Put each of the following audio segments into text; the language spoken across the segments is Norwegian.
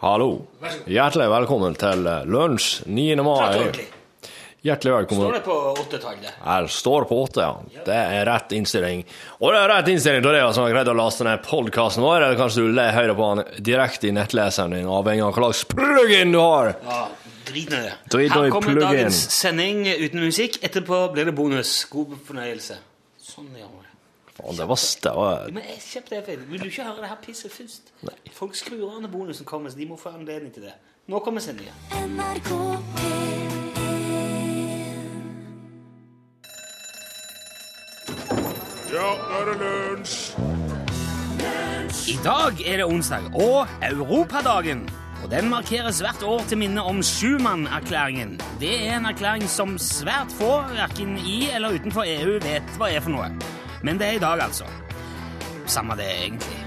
Hallo. Vær så god. Hjertelig velkommen til eh, lunsj 9. Snakk mai. ordentlig. Hjertelig Står velkommen. det på åttetallet? Her står på åtte, ja. Det er rett innstilling. Og det er rett innstilling til deg som har greid å laste ned podkasten vår, eller kanskje du le- hører på den direkte i nettleseren din, avhengig av hva slags plugin du har. Ja, drit i det. Drit nå i Her kommer pluggen. dagens sending uten musikk. Etterpå blir det bonus. God fornøyelse. Sånn gjør vi det. Faen, det var støv. Men jeg kjøpte det feil. Vil du ikke høre det her pisset først? Nei. Folk skrur av når bonusen kommer, så de må få anledning til det. Nå kommer sendinga. NRK P1 Ja, nå er det lunsj! I dag er det onsdag og Europadagen. Og Den markeres hvert år til minne om Schumann-erklæringen. Det er en erklæring som svært få, verken i eller utenfor EU, vet hva er for noe. Men det er i dag, altså. Samme det, egentlig.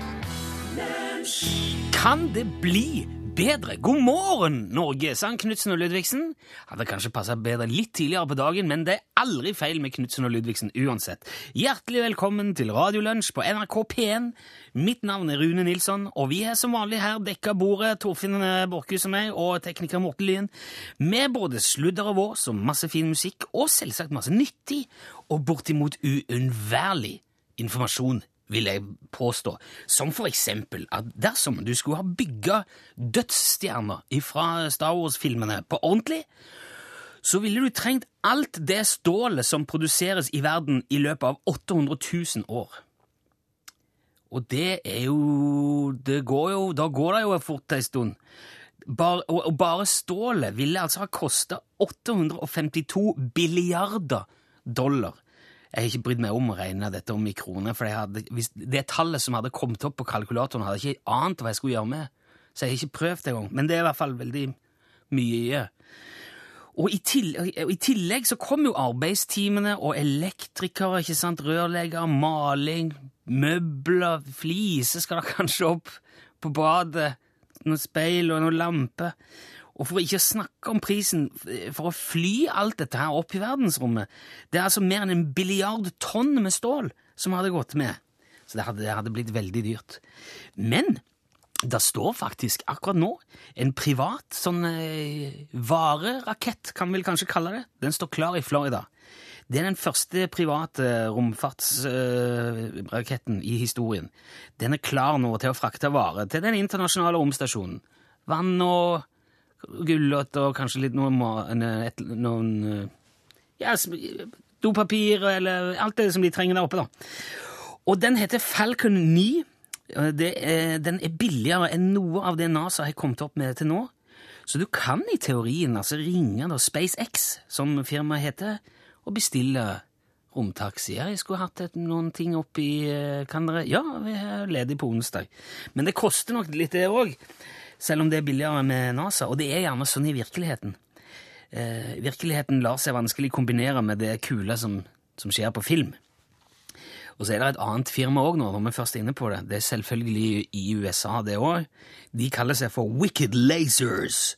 Kan det bli bedre? God morgen, Norge, sang Knutsen og Ludvigsen. Hadde kanskje passa bedre litt tidligere på dagen, men det er aldri feil med Knutsen og Ludvigsen uansett. Hjertelig velkommen til Radiolunsj på NRK P1. Mitt navn er Rune Nilsson, og vi er som vanlig her dekka bordet, Torfinn eh, Borchhus og meg, og tekniker Morten Lyen, med både sludder og vås og masse fin musikk, og selvsagt masse nyttig og bortimot uunnværlig informasjon vil jeg påstå. Som for eksempel at dersom du skulle ha bygga dødsstjerner fra Star Wars-filmene på ordentlig, så ville du trengt alt det stålet som produseres i verden i løpet av 800 000 år. Og det er jo Det går jo Da går det jo fort ei stund. Bare, og, og bare stålet ville altså ha kosta 852 billiarder dollar. Jeg har ikke brydd meg om å regne dette om i kroner, for jeg hadde, hvis det tallet som hadde kommet opp på kalkulatoren, hadde jeg ikke ant hva jeg skulle gjøre med. Så jeg har ikke prøvd det engang. Men det er i hvert fall veldig mye. Og i, til, og i tillegg så kom jo arbeidstimene og elektrikere, ikke sant, rørleggere, maling, møbler, fliser skal da kanskje opp på badet, noen speil og noen lamper. Og for ikke å snakke om prisen for å fly alt dette her opp i verdensrommet. Det er altså mer enn en billiard tonn med stål som hadde gått med. Så det hadde, det hadde blitt veldig dyrt. Men det står faktisk akkurat nå en privat sånn eh, varerakett, kan vi vel kanskje kalle det. Den står klar i Florida. Det er den første private romfartsraketten eh, i historien. Den er klar nå til å frakte varer til den internasjonale romstasjonen. Vann og gulrot og kanskje litt noen, ma- en- et- noen eh, ja, sm- dopapir eller alt det som de trenger der oppe, da. Og den heter Falcon 9. Eh, Det er, den er billigere enn noe av det NASA har kommet opp med til nå. Så du kan i teorien altså ringe da SpaceX, som firmaet heter, og bestille romtaxi. Ja, Jeg skulle hatt et, noen ting oppi eh, Kan dere Ja, vi er ledig på onsdag. Men det koster nok litt, det òg. Selv om det er billigere med NASA. Og det er gjerne sånn i virkeligheten. Eh, virkeligheten lar seg vanskelig kombinere med det kule som, som skjer på film. Og så er det et annet firma òg, når vi først er inne på det. Det er selvfølgelig i USA, det òg. De kaller seg for Wicked Lasers.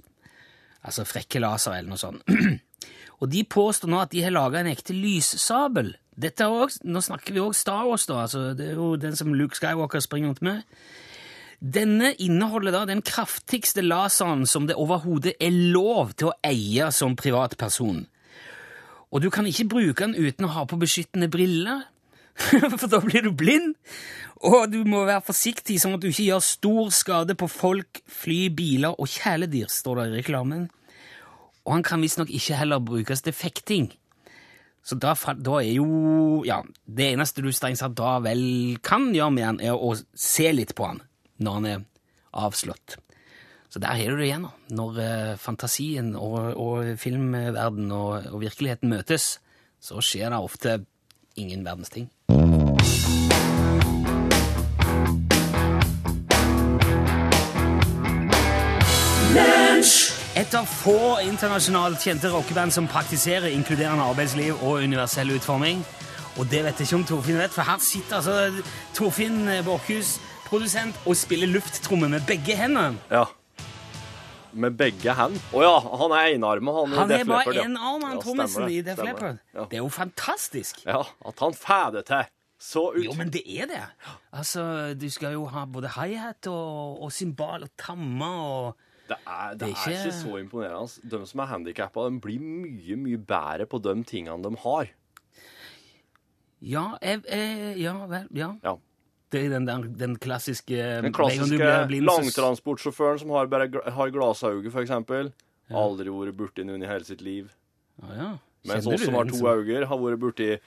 Altså frekke laser eller noe sånt. og de påstår nå at de har laga en ekte lyssabel. Dette er også, Nå snakker vi òg Star Wars, da. Altså, det er jo den som Luke Skywalker springer rundt med. Denne inneholder da den kraftigste laseren som det overhodet er lov til å eie som privatperson. Og du kan ikke bruke den uten å ha på beskyttende briller, for da blir du blind. Og du må være forsiktig sånn at du ikke gjør stor skade på folk, fly, biler og kjæledyr, står det i reklamen. Og han kan visstnok ikke heller brukes til fekting. Så da, fa- da er jo Ja, det eneste du strengt tatt da vel kan gjøre med han, er å se litt på han når han er avslått. Så der har du det igjen, da. Når eh, fantasien og, og filmverden og, og virkeligheten møtes, så skjer det ofte ingen verdens ting. Etter få internasjonalt kjente rockeband som praktiserer inkluderende arbeidsliv og universell utforming. Og det vet jeg ikke om Torfinn vet, for her sitter altså Torfinn Borchhus, produsent, og spiller lufttromme med begge hendene. Ja. Med begge hand. Å ja, han er enarma, han, Han i er Def bare Leppard, ja. én arm, han Ja, Thommessen stemmer det, i Def stemmer det. Leppard. Ja. Det er jo fantastisk. Ja, at han får det til. Så ut. Jo, men det er det. Altså, Du skal jo ha både hi-hat og, og cymbal og tamme og Det er, det Det er er ikke- ikke så imponerende. ass. De som er handikappa, blir mye, mye bedre på de tingene de har. Ja, jeg, jeg, ja vel, ja. Ja. Det er den, der, den klassiske Den Når du klassiske blir blind, så- langtransportsjåføren som har, bare, gl- har glasauge, for eksempel. Aldri vært borti noen i hele sitt liv. Ja, Ah, ja. Mens Kjenner oss du som har den to som- øyne, har vært borti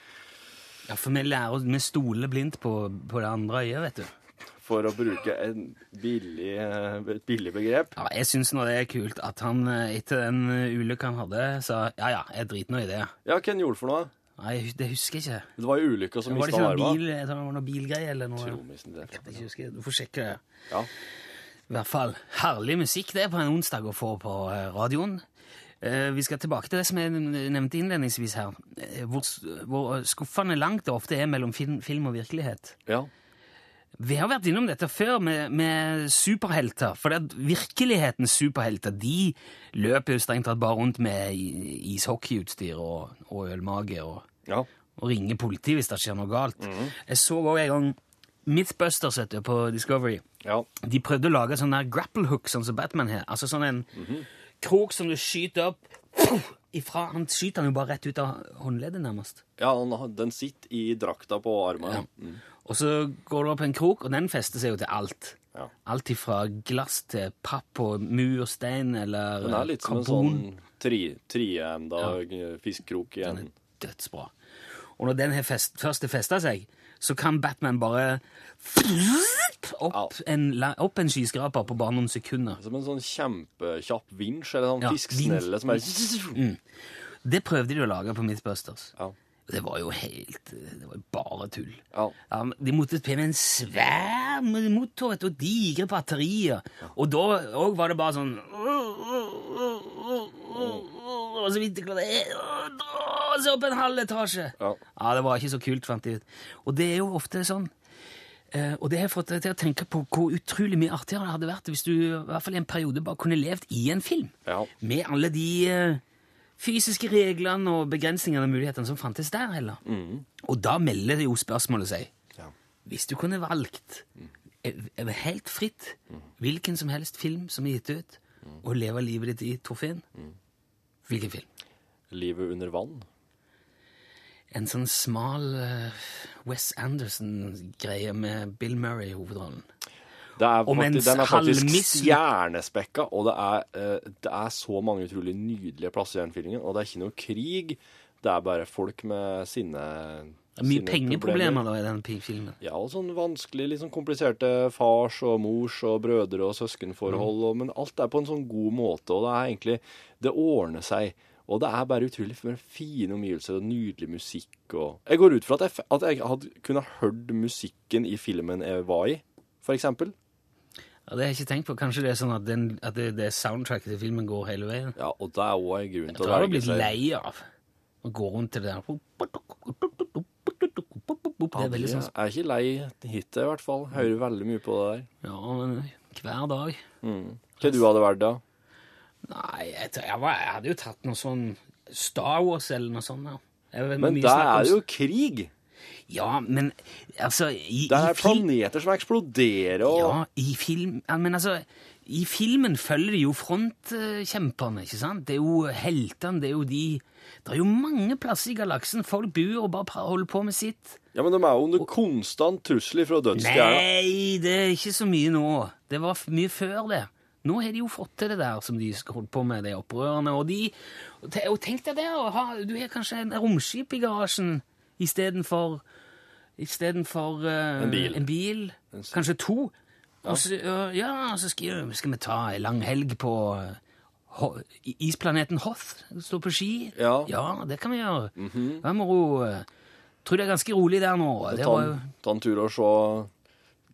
Ja, for vi lærer oss, vi stoler blindt på, på det andre øyet, vet du. for å bruke en billig, eh, et billig begrep. Ja, jeg syns nå det er kult at han eh, etter den eh, ulykka han hadde, sa ja ja, jeg driter nå i det. Ja, hva han gjorde for noe? Nei, jeg hus- det husker jeg ikke. Det var jo ulykka som Var det mista ikke noe armen. bil, jeg tror det var noe bilgreie eller noe? Trommisen Jeg der. vet ikke, jeg husker, du får sjekke det. Ja. I hvert fall herlig musikk det er på en onsdag å få på eh, radioen. Eh, Vi skal tilbake til det som jeg n- nevnte innledningsvis her, eh, hvor, s- hvor skuffende langt det ofte er mellom film, film og virkelighet. ja. Vi har vært innom dette før med, med superhelter, for det at virkelighetens superhelter de løper jo strengt tatt bare rundt med i- ishockeyutstyr og, og ølmage og, ja. og ringer politiet hvis det skjer noe galt. Jeg så også en gang Mythbusters vet du, på Discovery. Ja. De prøvde å lage sånn der grapple hook, sånn som Batman her. Altså sånn en krok som du skyter opp ifra. Han skyter han jo bare rett ut av håndleddet, nærmest. ja han, har- den sitter i drakta på armen. Og så går du opp en krok, og den fester seg jo til alt. Ja. Alt ifra glass til papp og mur og stein eller eh, Den er litt som en sånn tri, trienda fiskekrok i enden. Dødsbra. Og når den har fest, først har festa seg, så kan Batman bare opp, en, la- opp en skyskraper på bare noen sekunder. Som en sånn kjempekjapp vinsj, eller sånn Ja, fisksnelle som er Mm. Det prøvde de å lage på Mythbusters. ja. Og Det var jo helt eh, Det var jo bare tull. Ja. men de måtte til med en svær motor vet du, og digre batterier. Og da òg var det bare sånn Og så vidt de klarte å dra seg opp en halv etasje. Ja. det var ikke så kult, fant de ut. Og det er jo ofte sånn. eh, Og det har fått deg til å tenke på hvor utrolig mye artigere det hadde vært hvis du i hvert fall i en periode bare kunne levd i en film. Ja. Med alle de eh, fysiske reglene og begrensningene og mulighetene som fantes der heller. Og da melder det jo spørsmålet seg. Ja. Hvis du kunne valgt eh, helt fritt hvilken som helst film som er gitt ut, og leve livet ditt i, Torfinn, hvilken film? Livet under vann. En sånn smal eh, Wes Anderson-greie med Bill Murray i hovedrollen. Det er Og mens faktisk, den er faktisk halvmiss- stjernespekka, og det er, eh, det er så mange utrolig nydelige plasser i den filmen. Og det er ikke noe krig, det er bare folk med sine Det er mye sine pengeproblemer da i den pi- filmen. Ja, og sånn vanskelig, litt sånn kompliserte fars og mors og brødre og søskenforhold, og, men alt er på en sånn god måte, og det er egentlig Det ordner seg. Og det er bare utrolig f- fine omgivelser og nydelig musikk og Jeg går ut fra at jeg, f- at jeg hadde kunne hørt musikken i filmen jeg var i, for eksempel. Ja, det har jeg ikke tenkt på. Kanskje det er sånn at, den, at det, det soundtracket til filmen går hele veien. Ja, og det er òg en grunn til Da å har du velge blitt seg lei av å gå rundt til det der Det er veldig sånn Jeg er ikke lei hittil, i hvert fall. Hører veldig mye på det der. Ja, men hver dag Hva du hadde vært da? Nei, jeg, tror- jeg, var, jeg hadde jo tatt noe sånn Star Wars eller noe sånt. Ja. Jeg vet, Men mye der snakk om- er det jo krig! Ja, men altså i, Det i er film, planeter som eksploderer og Ja, i film ja, Men altså, i filmen følger de jo frontkjemperne, ikke sant? Det er jo heltene, det er jo de Det er jo mange plasser i galaksen folk bor og bare pra- holder på med sitt. Ja, men de er jo under konstant trussel fra dødsstjerna. Nei, det er ikke så mye nå. Det var f- mye før det. Nå har de jo fått til det der som de sk- holdt på med, de opprørerne. Og, de, og te- og tenk deg det, å ha, du har kanskje en romskip i garasjen istedenfor Istedenfor uh, En bil. en bil. Kanskje to. Og så, eh, ja, så skal, skal vi ta ei lang helg på eh, Ho- i- isplaneten Hoth. Stå på ski. Ja. det kan vi gjøre. Hva med ro? eh, Tror det er ganske rolig der nå. Det Ta, var jo... en- ta en tur og se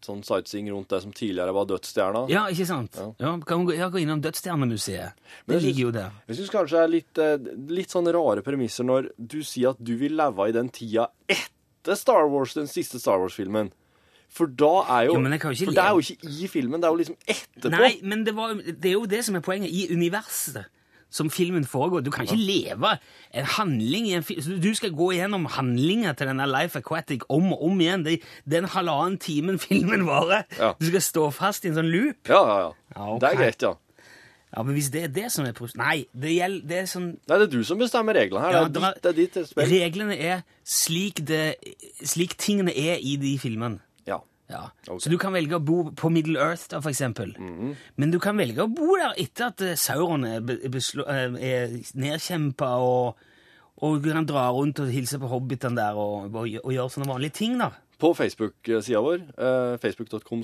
sånn sightseeing rundt det som tidligere var dødsstjerna. Ja, ikke sant? Ja. kan man gå, ja, gå innom Dødsstjernemuseet. Det jeg synes- ligger jo der. Jeg syns kanskje det er litt, eh, litt sånn rare premisser når du sier at du vil leve i den tida etter Star Wars, den siste Star Wars-filmen. For da er jo, Jo, men jeg kan jo ikke For det er jo leve- ikke i filmen, det er jo liksom etterpå. Nei, men det, var, det er jo det som er poenget. I universet som filmen foregår. Du kan ikke leve en handling i en film. Du skal gå gjennom handlinger til denne Life Aquatic om og om igjen. Det, den halvannen timen filmen varer. Ja. Du skal stå fast i en sånn loop. Ja, ja, ja. Ja, ok. Det er greit, ja. Ja, men hvis det er det som er pros- Nei, det gjelder det er sånn Nei, det er du som bestemmer reglene her. Ja, det, er dra- ditt, det er ditt spill. Reglene er slik, det, slik tingene er i de filmene. Ja. Ja. Ok. Mhm. Så du kan velge å bo på Middle Earth, da, for eksempel. Men du kan velge å bo der etter at eh, Sauron er, be- beslå- eh, er nedkjempa, og, og du kan dra rundt og hilse på hobbitene der og, og, gjø- og gjøre sånne vanlige ting, da. På Facebook-sida vår, eh, facebook.com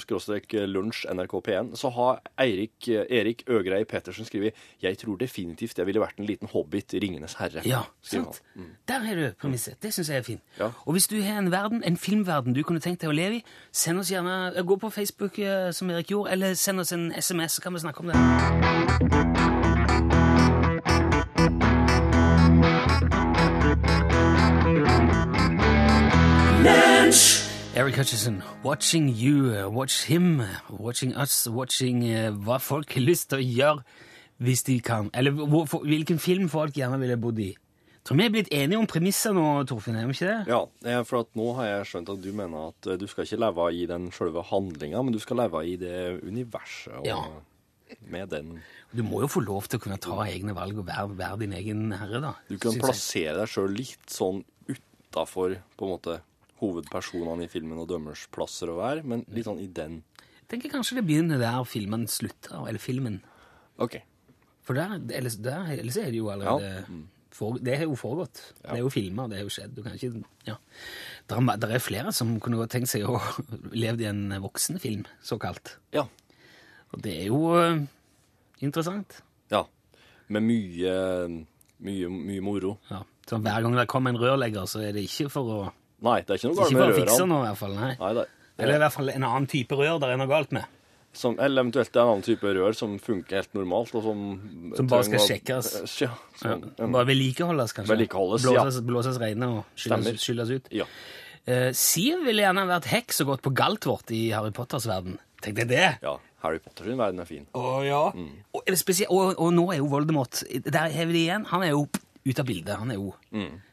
lunsj nrkp1, så har Eirik, eh, Erik Øgrei Pettersen skrevet 'Jeg tror definitivt jeg ville vært en liten hobbit i Ringenes herre'. Ja, skriver sant? Der har du premisset. Det syns jeg er fint. Mhm. Ja. Og hvis du har en verden, en filmverden du kunne tenkt deg å leve i, send oss gjerne Gå på Facebook, eh, som Erik gjorde, eller send oss en SMS, så kan vi snakke om det. Eric Hutchison, watching you, uh, watch him, uh, watching us, watching uh, hva folk har lyst til å gjøre hvis de kan. Eller hvor, for, hvilken film folk gjerne ville bodd i. Tror vi er blitt enige om premisser nå, Torfinn, er vi ikke det? Ja, eh, for at nå har jeg skjønt at du mener at eh, du skal ikke leve i den sjølve handlinga, men du skal leve i det universet og Ja. med den Du må jo få lov til å kunne ta egne valg og være, være din egen herre, da. Du kan synes jeg. plassere deg sjøl litt sånn utafor hovedpersonene i filmen og dømmers plasser å være, men litt sånn i den. Jeg tenker kanskje det begynner der filmen slutter, eller filmen. OK. For der, ellers, der, ellers er det jo allerede Ja. Mm. for, Det har jo foregått. Det er jo filma, det har jo skjedd. Du kan ikke ja. der, er ma- der er flere som kunne godt tenkt seg å leve i en voksenfilm, såkalt. Ja. Og det er jo eh, interessant. Ja. Med mye, mye, mye moro. Ja. Så hver gang det kommer en rørlegger, så er det ikke for å Nei, det er ikke noe Ikke galt for med å fikse rørene. noe, i hvert fall. Nei. Nei, det er- Eller i hvert fall en annen type rør der er noe galt med. som, eller eventuelt det er en annen type rør som funker helt normalt, og som Som bare skal trenger å- Eh, sjekkes. Ja, Ja. som, Bare vedlikeholdes, kanskje. Vedlikeholdes, ja. blåses, blåses reine og Stemmer. skylles, skylles ut. ja. Eh, Siv ville gjerne vært heks og gått på galtvort i Harry Potters verden. Tenk deg det! ja. Harry Potter sin verden er fin. Å, ja. Mm. og, eller spesielt- og, og nå er jo Voldemort Der har vi det igjen. Han er jo ute av bildet. Han er jo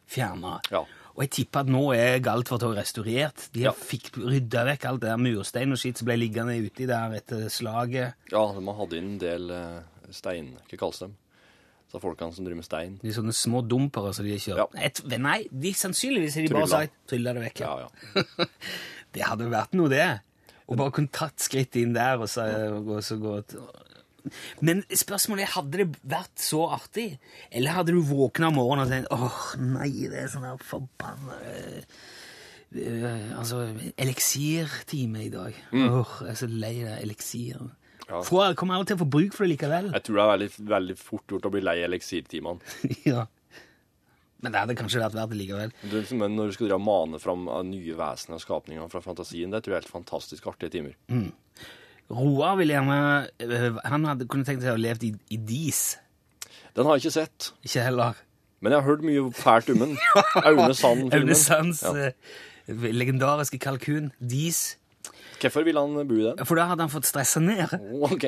fjerna. Mm. Ja. Og jeg tipper at nå er Galtvort også restaurert. De Ja. fikk rydda vekk alt det der murstein og skitt som ble liggende uti der etter slaget. Ja, man hadde inn en del eh, stein... Hva kalles dem? Så folkene som driver med stein. De sånne små dumpere som de har kjørt. Ja. Et, nei, de, sannsynligvis har de bare Trylla. sagt 'trylla det vekk'. Ja, Ja. ja. Det hadde jo vært noe, det. Og bare kunne tatt skritt inn der og så, og så gått Men spørsmålet er, hadde det vært så artig? Eller hadde du våkna om morgenen og tenkt åh, nei, det er sånn her forbanna øh, øh, Altså, eliksirtime i dag. Åh, jeg er så lei av eliksir. Ja. Får jeg- Kommer jeg aldri til å få bruk for det likevel? Jeg tror det er veldig, veldig fort gjort å bli lei eliksirtimene. ja. Men det hadde kanskje vært verdt det likevel. Det er liksom- Men når du skal drive og mane fram av nye vesener og skapninger fra fantasien, det tror jeg er helt fantastisk artige timer. Roar ville gjerne øh, Han hadde kunne tenkt seg å leve i, i dis. Den har jeg ikke sett. Ikke heller. Men jeg har hørt mye fælt om den. Aune Aune Sand-filmen. Sands eh, legendariske kalkun, Dis. Hvorfor ville han bo i den? For da hadde han fått stressa ned. OK.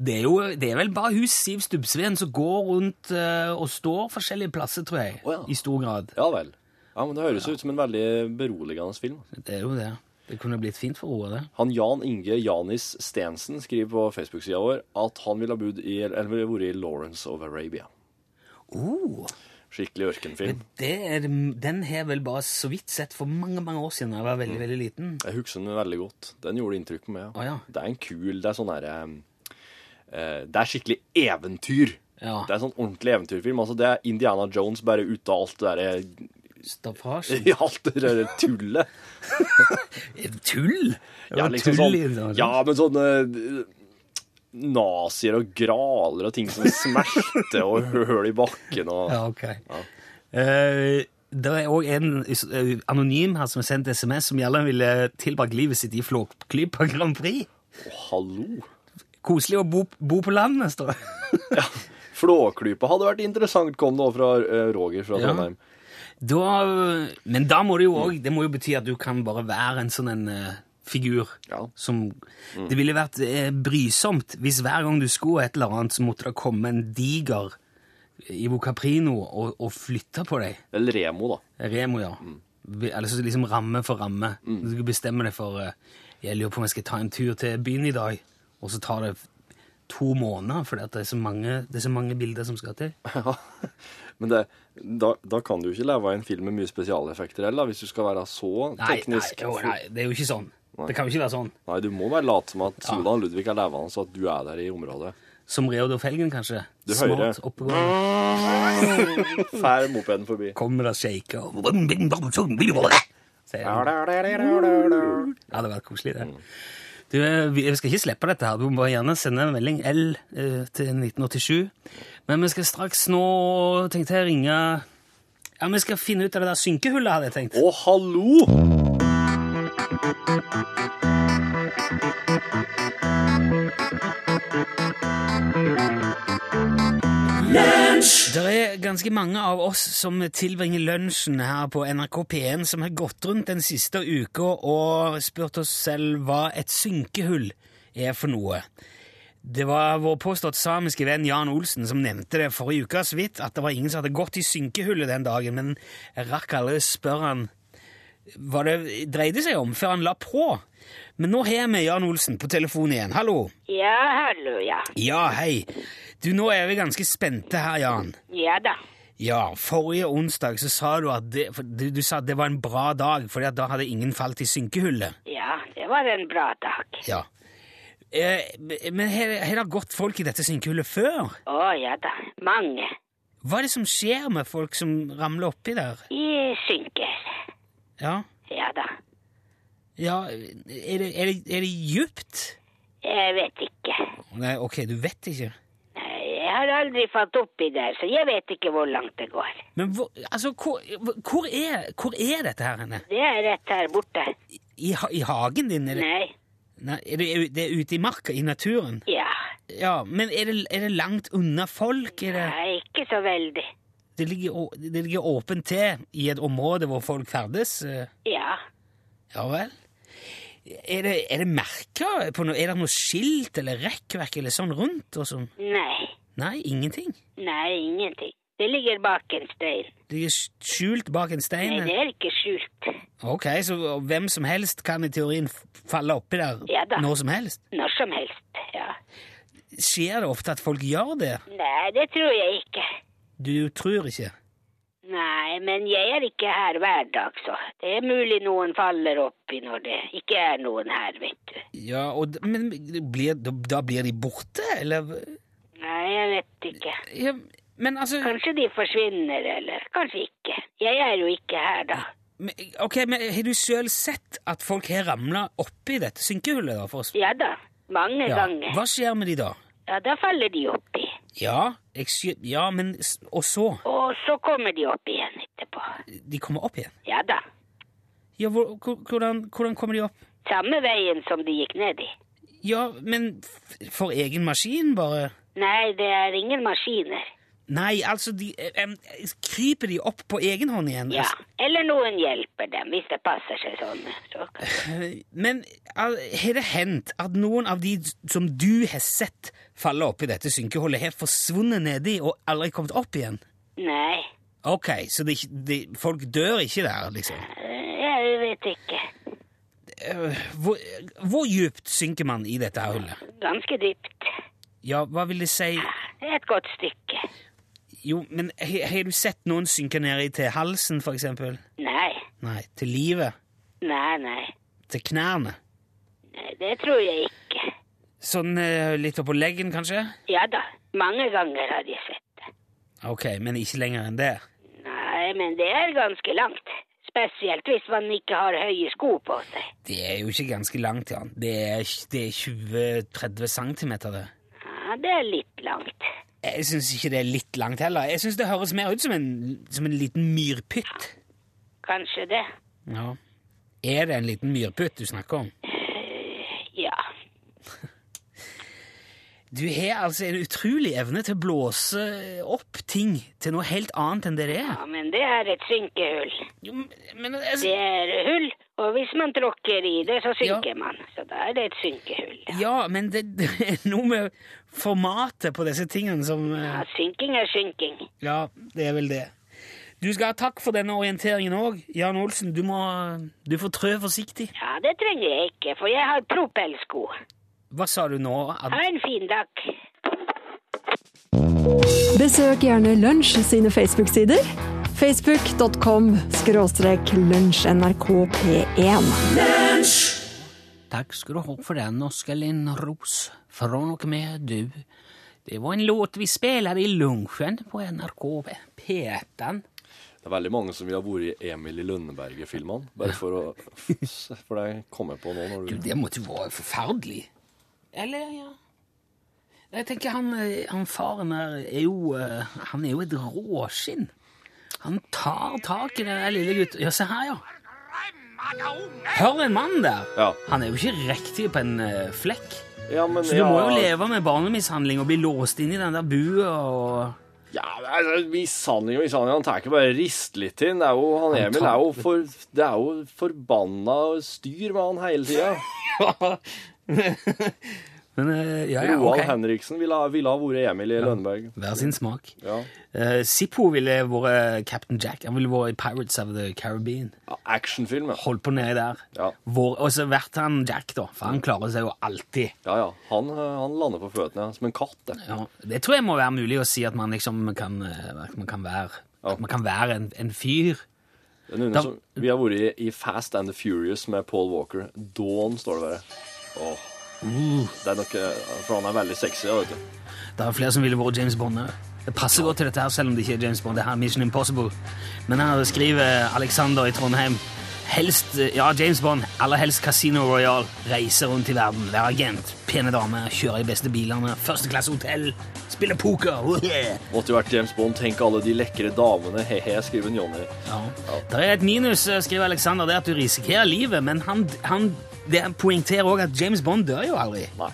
Det er, jo, det er vel bare hun Siv Stubbsveen som går rundt eh, og står forskjellige plasser, tror jeg. Å ja. I stor grad. Ja vel. Ja, men Det høres ut som en veldig beroligende film. Det er jo det. Det kunne blitt fint for Roar, det. Han Jan Inge Janis Stensen skriver på Facebook-sida vår at han ville ha bodd i, eller ville vært i Lawrence of Arabia. Oh, Skikkelig ørkenfilm. det er, den har jeg vel bare så vidt sett for mange mange år siden da jeg var veldig veldig liten. Jeg husker den veldig godt. Den gjorde inntrykk på meg. Å, ja. Det er en kul Det er sånn derre eh, Det er skikkelig eventyr. Ja. Det er sånn ordentlig eventyrfilm. Altså, det er Indiana Jones bare ute av alt det derre Staffasje. Alt det derre tullet. Tull! Det Eh, Ja, var liksom tull sånn, i altså. det. ja, men sånne eh, nazier og graler og ting som smerter og høl i bakken og Ja, ok. Eh, det er òg en eh, anonym her som har sendt SMS som gjerne ville tilbrakt livet sitt i Flåklypa Grand Prix. Hallo! Koselig å bo, bo på landet, står det. Flåklypa hadde vært interessant, kom det òg fra eh, Roger fra Ja. Trondheim. Da, eh, men da må det jo òg Det må jo bety at du kan bare være en sånn en eh, figur Ja. som Det ville vært eh, brysomt hvis hver gang du skulle et eller annet, så måtte det komme en diger Ivo Caprino og, og flytte på deg. Eller Remo, da. Remo, ja. Vi- Eller så liksom ramme for ramme. Du skal bestemme deg for eh, Jeg lurer på om jeg skal ta en tur til byen i dag. Og så tar det f- to måneder, fordi at det er så mange, det er så mange bilder som skal til. Ja, men det, da, da kan du jo ikke leve av en film med mye spesialeffekter heller, da, hvis du skal være så Nei, nei, teknisk. jo, nei, det er jo ikke sånn. Det kan jo ikke være sånn. Nei, du må være lat som at Sudan Ludvig er levende, så at du er der i området. Som Reodor Felgen, kanskje. Du hører. Smart, oppegående. Fær mopeden forbi. Kommer og shaker. Sier han. Nei, Ja, det hadde vært koselig, det. Du, eh, vi vi skal ikke slippe dette her. Du må bare gjerne sende en melding L eh, til 1987. Men vi skal straks nå tenkte jeg ringe Ja, vi skal finne ut av det der synkehullet, hadde jeg tenkt. Å, hallo! Det er ganske mange av oss som tilbringer lunsjen her på NRK P1 som har gått rundt den siste uka og spurt oss selv hva et synkehull er for noe. Det var vår påstått samiske venn Jan Olsen som nevnte det forrige uke så vidt, at det var ingen som hadde gått i synkehullet den dagen, men jeg rakk aldri spørre han hva det dreide seg om før han la på. Men nå har vi Jan Olsen på telefon igjen. Hallo. Ja, hallo, ja. Ja, hei. Du, nå er vi ganske spente her, Jan. Ja da. Ja, forrige onsdag så sa du at det, for du, du sa at det var en bra dag, fordi at da hadde ingen falt i synkehullet. Ja, det var en bra dag. Ja. Eh, men har har det gått folk i dette synkehullet før? Å ja da. Mange Hva er det som skjer med folk som ramler oppi der? i synker. Ja, Ja da. ja er det, er det, er det djupt? Jeg vet ikke. Nei, ok, du vet ikke. Nei, Jeg har aldri falt oppi der, så jeg vet ikke hvor langt det går. Men hvor, altså, hvor, hvor, er, hvor er dette her henne? Det er rett her borte. I, ha- i hagen din? Er det, Nei. nei, er det, er det ute i marka, i naturen? Ja. Ja, men er det, er det langt unna folk? Er det... Nei, ikke så veldig. Det ligger, å- det ligger åpent til i et område hvor folk ferdes. eh, Ja. Ja vel. Er det, er det merker på noe? Er det noe skilt eller rekkverk eller sånn rundt? Og sånn? Nei. Nei, ingenting. Nei, ingenting. Det ligger bak en stein. Det ligger skjult bak en Nei, stein. det er ikke skjult. Ok, så hvem som helst kan i teorien f- falle oppi der Ja da. når som helst? Når som helst. Ja. Skjer det ofte at folk gjør det? Nei, det tror jeg ikke. Du tror ikke? Nei, men jeg er ikke her hver dag, så det er mulig noen faller oppi når det ikke er noen her, vet du. Ja, og, d- men blir, da, da blir de borte, eller? Nei, jeg vet ikke. Ja, men altså Kanskje de forsvinner, eller kanskje ikke. Jeg er jo ikke her, da. Men, ok, men Har du sjøl sett at folk har ramla oppi dette synkehullet? da for oss? Ja da, mange ganger. Hva skjer med de da? Ja, da faller de oppi. Ja, jeg sky ja men s- Og så? Og så kommer de opp igjen etterpå. De kommer opp igjen? Ja da. Ja, hvor, hvor- hvordan, hvordan kommer de opp? Samme veien som de gikk ned i. Ja, men f- for egen maskin, bare? Nei, det er ingen maskiner. Nei, altså de, em, Kryper de opp på egen hånd igjen? Altså, Ja, eller noen hjelper dem hvis det passer seg sånn. Så. Altså, Men al- har det hendt at noen av de som du har sett falle oppi dette synkehullet, har forsvunnet nedi og aldri kommet opp igjen? Nei, Ok, så det, ikke- det, folk dør ikke der, liksom? eh, jeg vet ikke. Eh, Hvor, hvor djupt synker man i dette her hullet? Ganske dypt. Ja, hva vil det si? Et godt stykke. Jo, men he- har du sett noen synke ned i til halsen, for eksempel? Nei, Nei, til livet? nei, nei. Til knærne? Nei, Det tror jeg ikke. Sånn eh, litt oppå leggen, kanskje? Ja da, mange ganger har jeg sett det. Ok, men ikke lenger enn det. Nei, men det er ganske langt. Spesielt hvis man ikke har høye sko på seg. Det er jo ikke ganske langt, Jan. Det er, det er 20-30 centimeter, det. Ja, det er litt langt. Jeg syns ikke det er litt langt heller. Jeg syns det høres mer ut som en, som en liten myrpytt. Kanskje det. Ja. Er det en liten myrpytt du snakker om? Ja. Du har altså en utrolig evne til å blåse opp ting til noe helt annet enn det det er. ja, men det er et synkehull. Jo, men altså, Det er hull, Og hvis man tråkker i det, så synker Ja. man. Så da er det et synkehull. Ja, men det, det er noe med formatet på disse tingene som eh, Ja, synking er synking. Ja, det er vel det. Du skal ha takk for denne orienteringen òg, Jan Olsen. Du må Du får trø forsiktig. Ja, det trenger jeg ikke, for jeg har propellsko. Hva sa du nå? Ad- Ha en fin dag. Besøk gjerne Lunsj sine Facebook-sider. Facebook.com skråstrek lunsjnrkp1. Takk skal du ha for den, Oskar-Linn Ros. Fra og med du. Det var en låt vi spilte i lunsjen på NRK P1. Det er veldig mange som ville ha vært i Emil i Lønneberget-filmene. Bare for å For det kom jeg på nå. Når Du, du, det måtte jo være forferdelig. Eller, ja Jeg tenker han, eh, han faren her er jo eh, Han er jo et råskinn. Han tar tak i den der lille gutten. Ja, se her, ja. Hør en mann der! Ja. Han er jo ikke riktig på en eh, flekk. ja, men Så du må jo leve med barnemishandling og bli låst inn i den der bua og Ja, men altså, Mishandling og mishandling. Han tar ikke bare rist litt inn. Det er jo, han Han Emil tar- er jo for Det er jo forbanna styr med han hele tida. Men eh, ja, ja, Roald ok. Henriksen ville ha, ville ha vært Emil i Lønneberg. Hver sin smak. Ja. Eh, Zippo ville vært Captain Jack. Han ville vært i Pirates of the Caribbean. Ja, Actionfilm, ja. holdt på nedi der. Ja. Hvor, og så vært han Jack, da, for han klarer seg jo alltid. Ja, ja. Han, eh, han lander på føttene ja. som en katt. det. Ja, det tror jeg må være mulig å si at man liksom kan, eh, at man kan være, at man kan være en, en fyr. Det er noen Da- som, vi har vært i, i Fast and the Furious med Paul Walker. Dawn står det bare. Åh. Det er nok, eh, for han er veldig sexy, da, vet du. Det er flere som ville vært James Bond òg. Det passer godt til dette, her, selv om det ikke er James Bond. Det her er Mission Impossible. Men her skriver Alexander i Trondheim Helst, eh, ja, James Bond, aller helst Casino Royal. Reise rundt i verden, være agent, pene damer, kjøre de beste bilene, førsteklasse hotell, spille poker. Yeah. Måtte jo vært James Bond. Tenk alle de lekre damene. He-he, skriver Johnny. Ja. Det er et minus, eh, skriver Alexander, det er at du risikerer livet, men han, han det han poengterer også at James Bond dør jo aldri. Nei.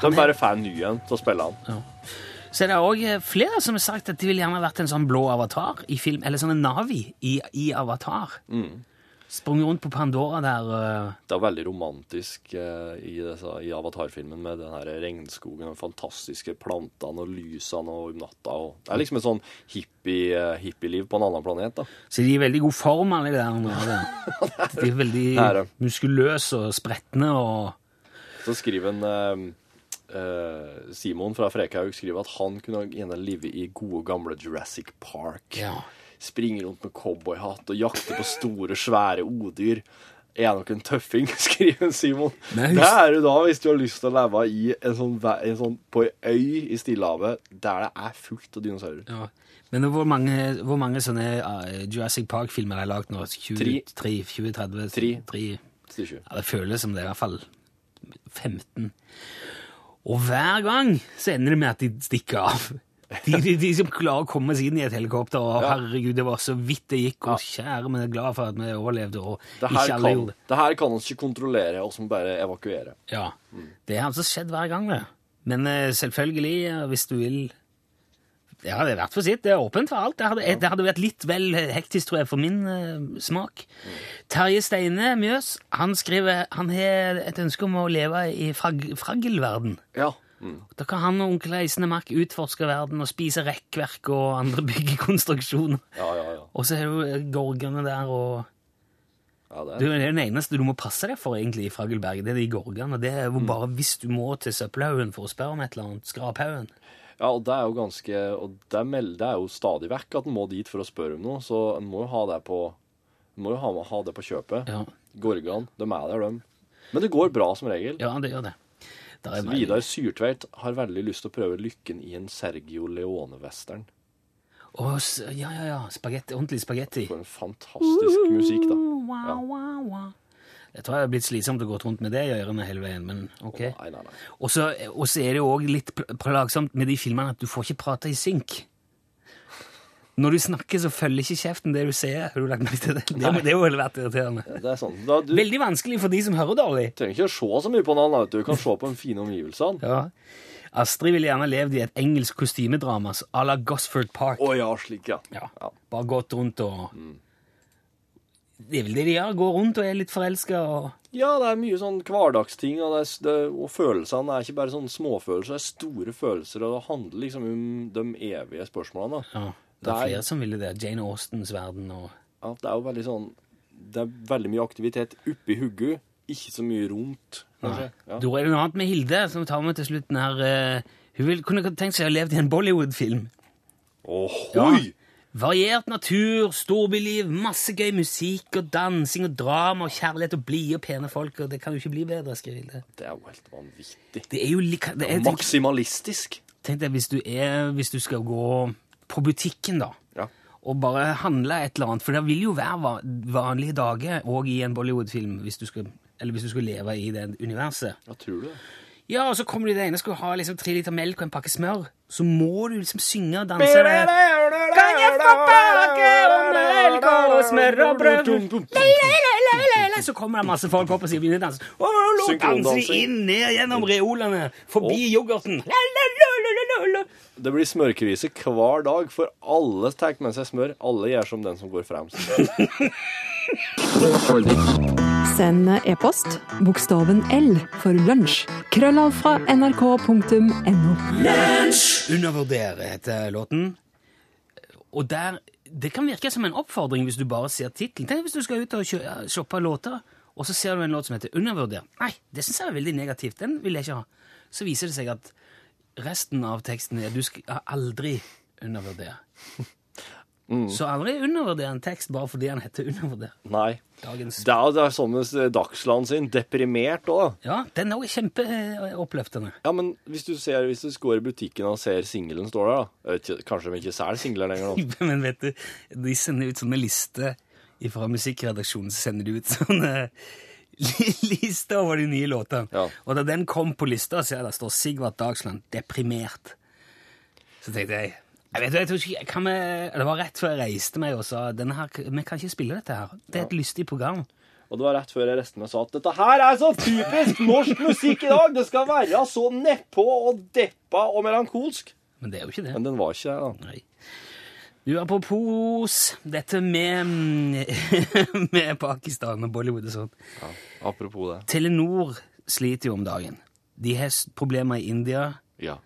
De bare får en ny en til å spille han. Så er det også eh, flere som har sagt at de ville gjerne vært en sånn blå avatar i film, eller sånn en Navi i, i Avatar. Mm. Sprung rundt på Pandora der. eh, Det er veldig romantisk eh, i, disse, i Avatar-filmen med den her regnskogen og de fantastiske plantene og lysene og om natta. Og det er liksom et sånn hippie, eh, hippieliv på en annen planet. da. Så de er i veldig god form, alle de der. Navi. De er veldig Det er det. muskuløse og sprettende og... Så skriver en eh, eh, Simon fra Frekhaug skriver at han kunne gjerne leve i gode, gamle Jurassic Park. Ja. Springe rundt med cowboyhatt og jakte på store, svære odyr. Er jeg nok en tøffing, skriver Simon. Men husk- Det er du da hvis du har lyst til å leve i en sånn, ve- en sånn, på ei øy i Stillehavet der det er fullt av dinosaurer. Ja. Men hvor mange, hvor mange sånne eh, Jurassic Park-filmer er lagt nå? 20, Tre. 3, 20, 30? Tre. 3. Stikker. Ja, det føles som det er i hvert fall 15. Og hver gang så ender det med at de stikker av. De, de, de som klarer å komme seg inn i et helikopter, og herregud, det var så vidt det gikk, og kjære, men jeg er glad for at vi overlevde, og Det her, ikke alle kan, gjorde det. det her kan oss ikke kontrollere, oss må bare evakuere. Ja, det har altså skjedd hver gang, det. Men eh, selvfølgelig, eh, hvis du vil Det hadde vært for sitt. Det er åpent for alt. Det hadde, det hadde vært litt vel hektisk, tror jeg, for min eh, smak. Terje Steine Mjøs han skriver han har et ønske om å leve i frag, fraggelverden. Ja. Da kan han og onkel Eisenemark utforske verden og spise rekkverk og andre byggekonstruksjoner. Ja, ja, ja. Og så er det jo eh, gorgene der og ja det er. Det er jo den eneste du må passe deg for egentlig i Fraggelberg. Det er de gorgene. Det er jo bare hvis du må til søppelhaugen for å spørre om et eller annet. Skraphaugen. Ja, og det er jo ganske Og det melder det er jo stadig vekk at en må dit for å spørre om noe, så en må jo ha det på en må jo ha, ha det på kjøpet. Ja. Gorgan, de er der, de. Men det går bra som regel. Ja, det gjør det. Der er meg. Vidar Syrtveit har veldig lyst til å prøve lykken i en Sergio Leone-western. Å, s- ja, ja, ja. Spagetti, ordentlig spagetti. For en fantastisk musikk, da. Wow, wow, wow. Jeg tror jeg har blitt slitsomt å gå rundt med det i ørene hele veien, men ok. Nei, nei, nei. Og så og så er det jo òg litt pl- plagsomt med de filmene at du får ikke prate i synk. Når du snakker, så følger ikke kjeften det du sier. Har du lagt merke til det? Det, må- det har jo vært irriterende. Det er sånn. Da, du Veldig vanskelig for de som hører dårlig. trenger ikke å se så mye på en annen, vet du. Du kan se på de fine omgivelsene. Ja. Astrid ville gjerne levd i et engelsk kostymedrama så à la Gosford Park. Å ja, Mm. slik, ja. Ja. Bare gått rundt og Det er vel det de gjør. Går rundt og er litt forelska og Ja, det er mye sånn hverdagsting, og, det er, s- det, og følelsene er ikke bare sånn småfølelser, det er store følelser, og det handler liksom om de evige spørsmålene. Da. ja, Det er Nei. flere som ville det. Jane Austens verden og Ja, det er jo veldig sånn Det er veldig mye aktivitet oppi hugget, ikke så mye rundt. kanskje. Ja. Da er det noe annet med Hilde, som tar med til slutten her. eh, Hun vil, kunne tenkt seg å ha levd i en Bollywood-film. Ohoi! Variert natur, storbyliv, masse gøy musikk og dansing og drama og kjærlighet og blide og pene folk, og det kan jo ikke bli bedre, skriver Hilde. Det er jo helt vanvittig. Det er jo like... Det er, tenk, Maksimalistisk. tenk deg hvis du, er, hvis du skal gå på butikken, da, Ja. og bare handle et eller annet, for det vil jo være va- vanlige dager òg i en Bollywood-film, hvis du skal eller hvis du skulle leve i det universet. Ja, tror du det? Ja, og så kommer du i det ene og skulle ha liksom tre liter melk og en pakke smør. Så må du liksom synge og danse det. Kan jeg få pakke og melk og smør og brød? Lei, lei, lei, lei, lei, lei. Så kommer det masse folk opp og sier begynner å danse. Og nå danser de Synkrondansing. inn ned gjennom reolene, forbi yoghurten. La, la, la, la, la, la, la. Det blir smørkrise hver dag, for alle tar med seg smør. Alle gjør som den som går fremst. Send e-post bokstaven L for lunsj. Krøllav fra nrk.no. Undervurdere heter låten. Og der Det kan virke som en oppfordring hvis du bare ser tittelen. Tenk hvis du skal ut og kjø- shoppe låter, og så ser du en låt som heter Undervurder. Nei, det syns jeg er veldig negativt. Den vil jeg ikke ha. Så viser det seg at resten av teksten er du skal aldri undervurdere. Så aldri undervurdere en tekst bare fordi den heter Undervurder. Nei. Dagens Det er jo det er sånn med Dagsland sin. Deprimert òg, da. Ja, den er også eh, kjempeoppløftende. Ja, men hvis du, ser, hvis du går i butikken og ser singelen står der, da Jeg vet ikke, Kanskje de ikke selger singler lenger nå? Men vet du, de sender ut sånn sånne lister fra musikkredaksjonen, så sender de ut sånne li- lister over de nye låtene. Ja. Og da den kom på lista, så jeg der står Sigvart Dagsland, deprimert. Så tenkte jeg, jeg vet du, jeg tror ikke, kan vi, det var rett før jeg reiste meg og sa, denne her, vi kan ikke spille dette her. Det er et lystig program. Og det var rett før jeg resten meg sa at dette her er så typisk norsk musikk i dag! Det skal være så nedpå og deppa og melankolsk. Men det er jo ikke det. Men den var ikke det, da. Nei. Du, apropos dette med, med Pakistan og Bollywood og sånt. Apropos det. Telenor sliter jo om dagen. De har s- problemer i India, Ja.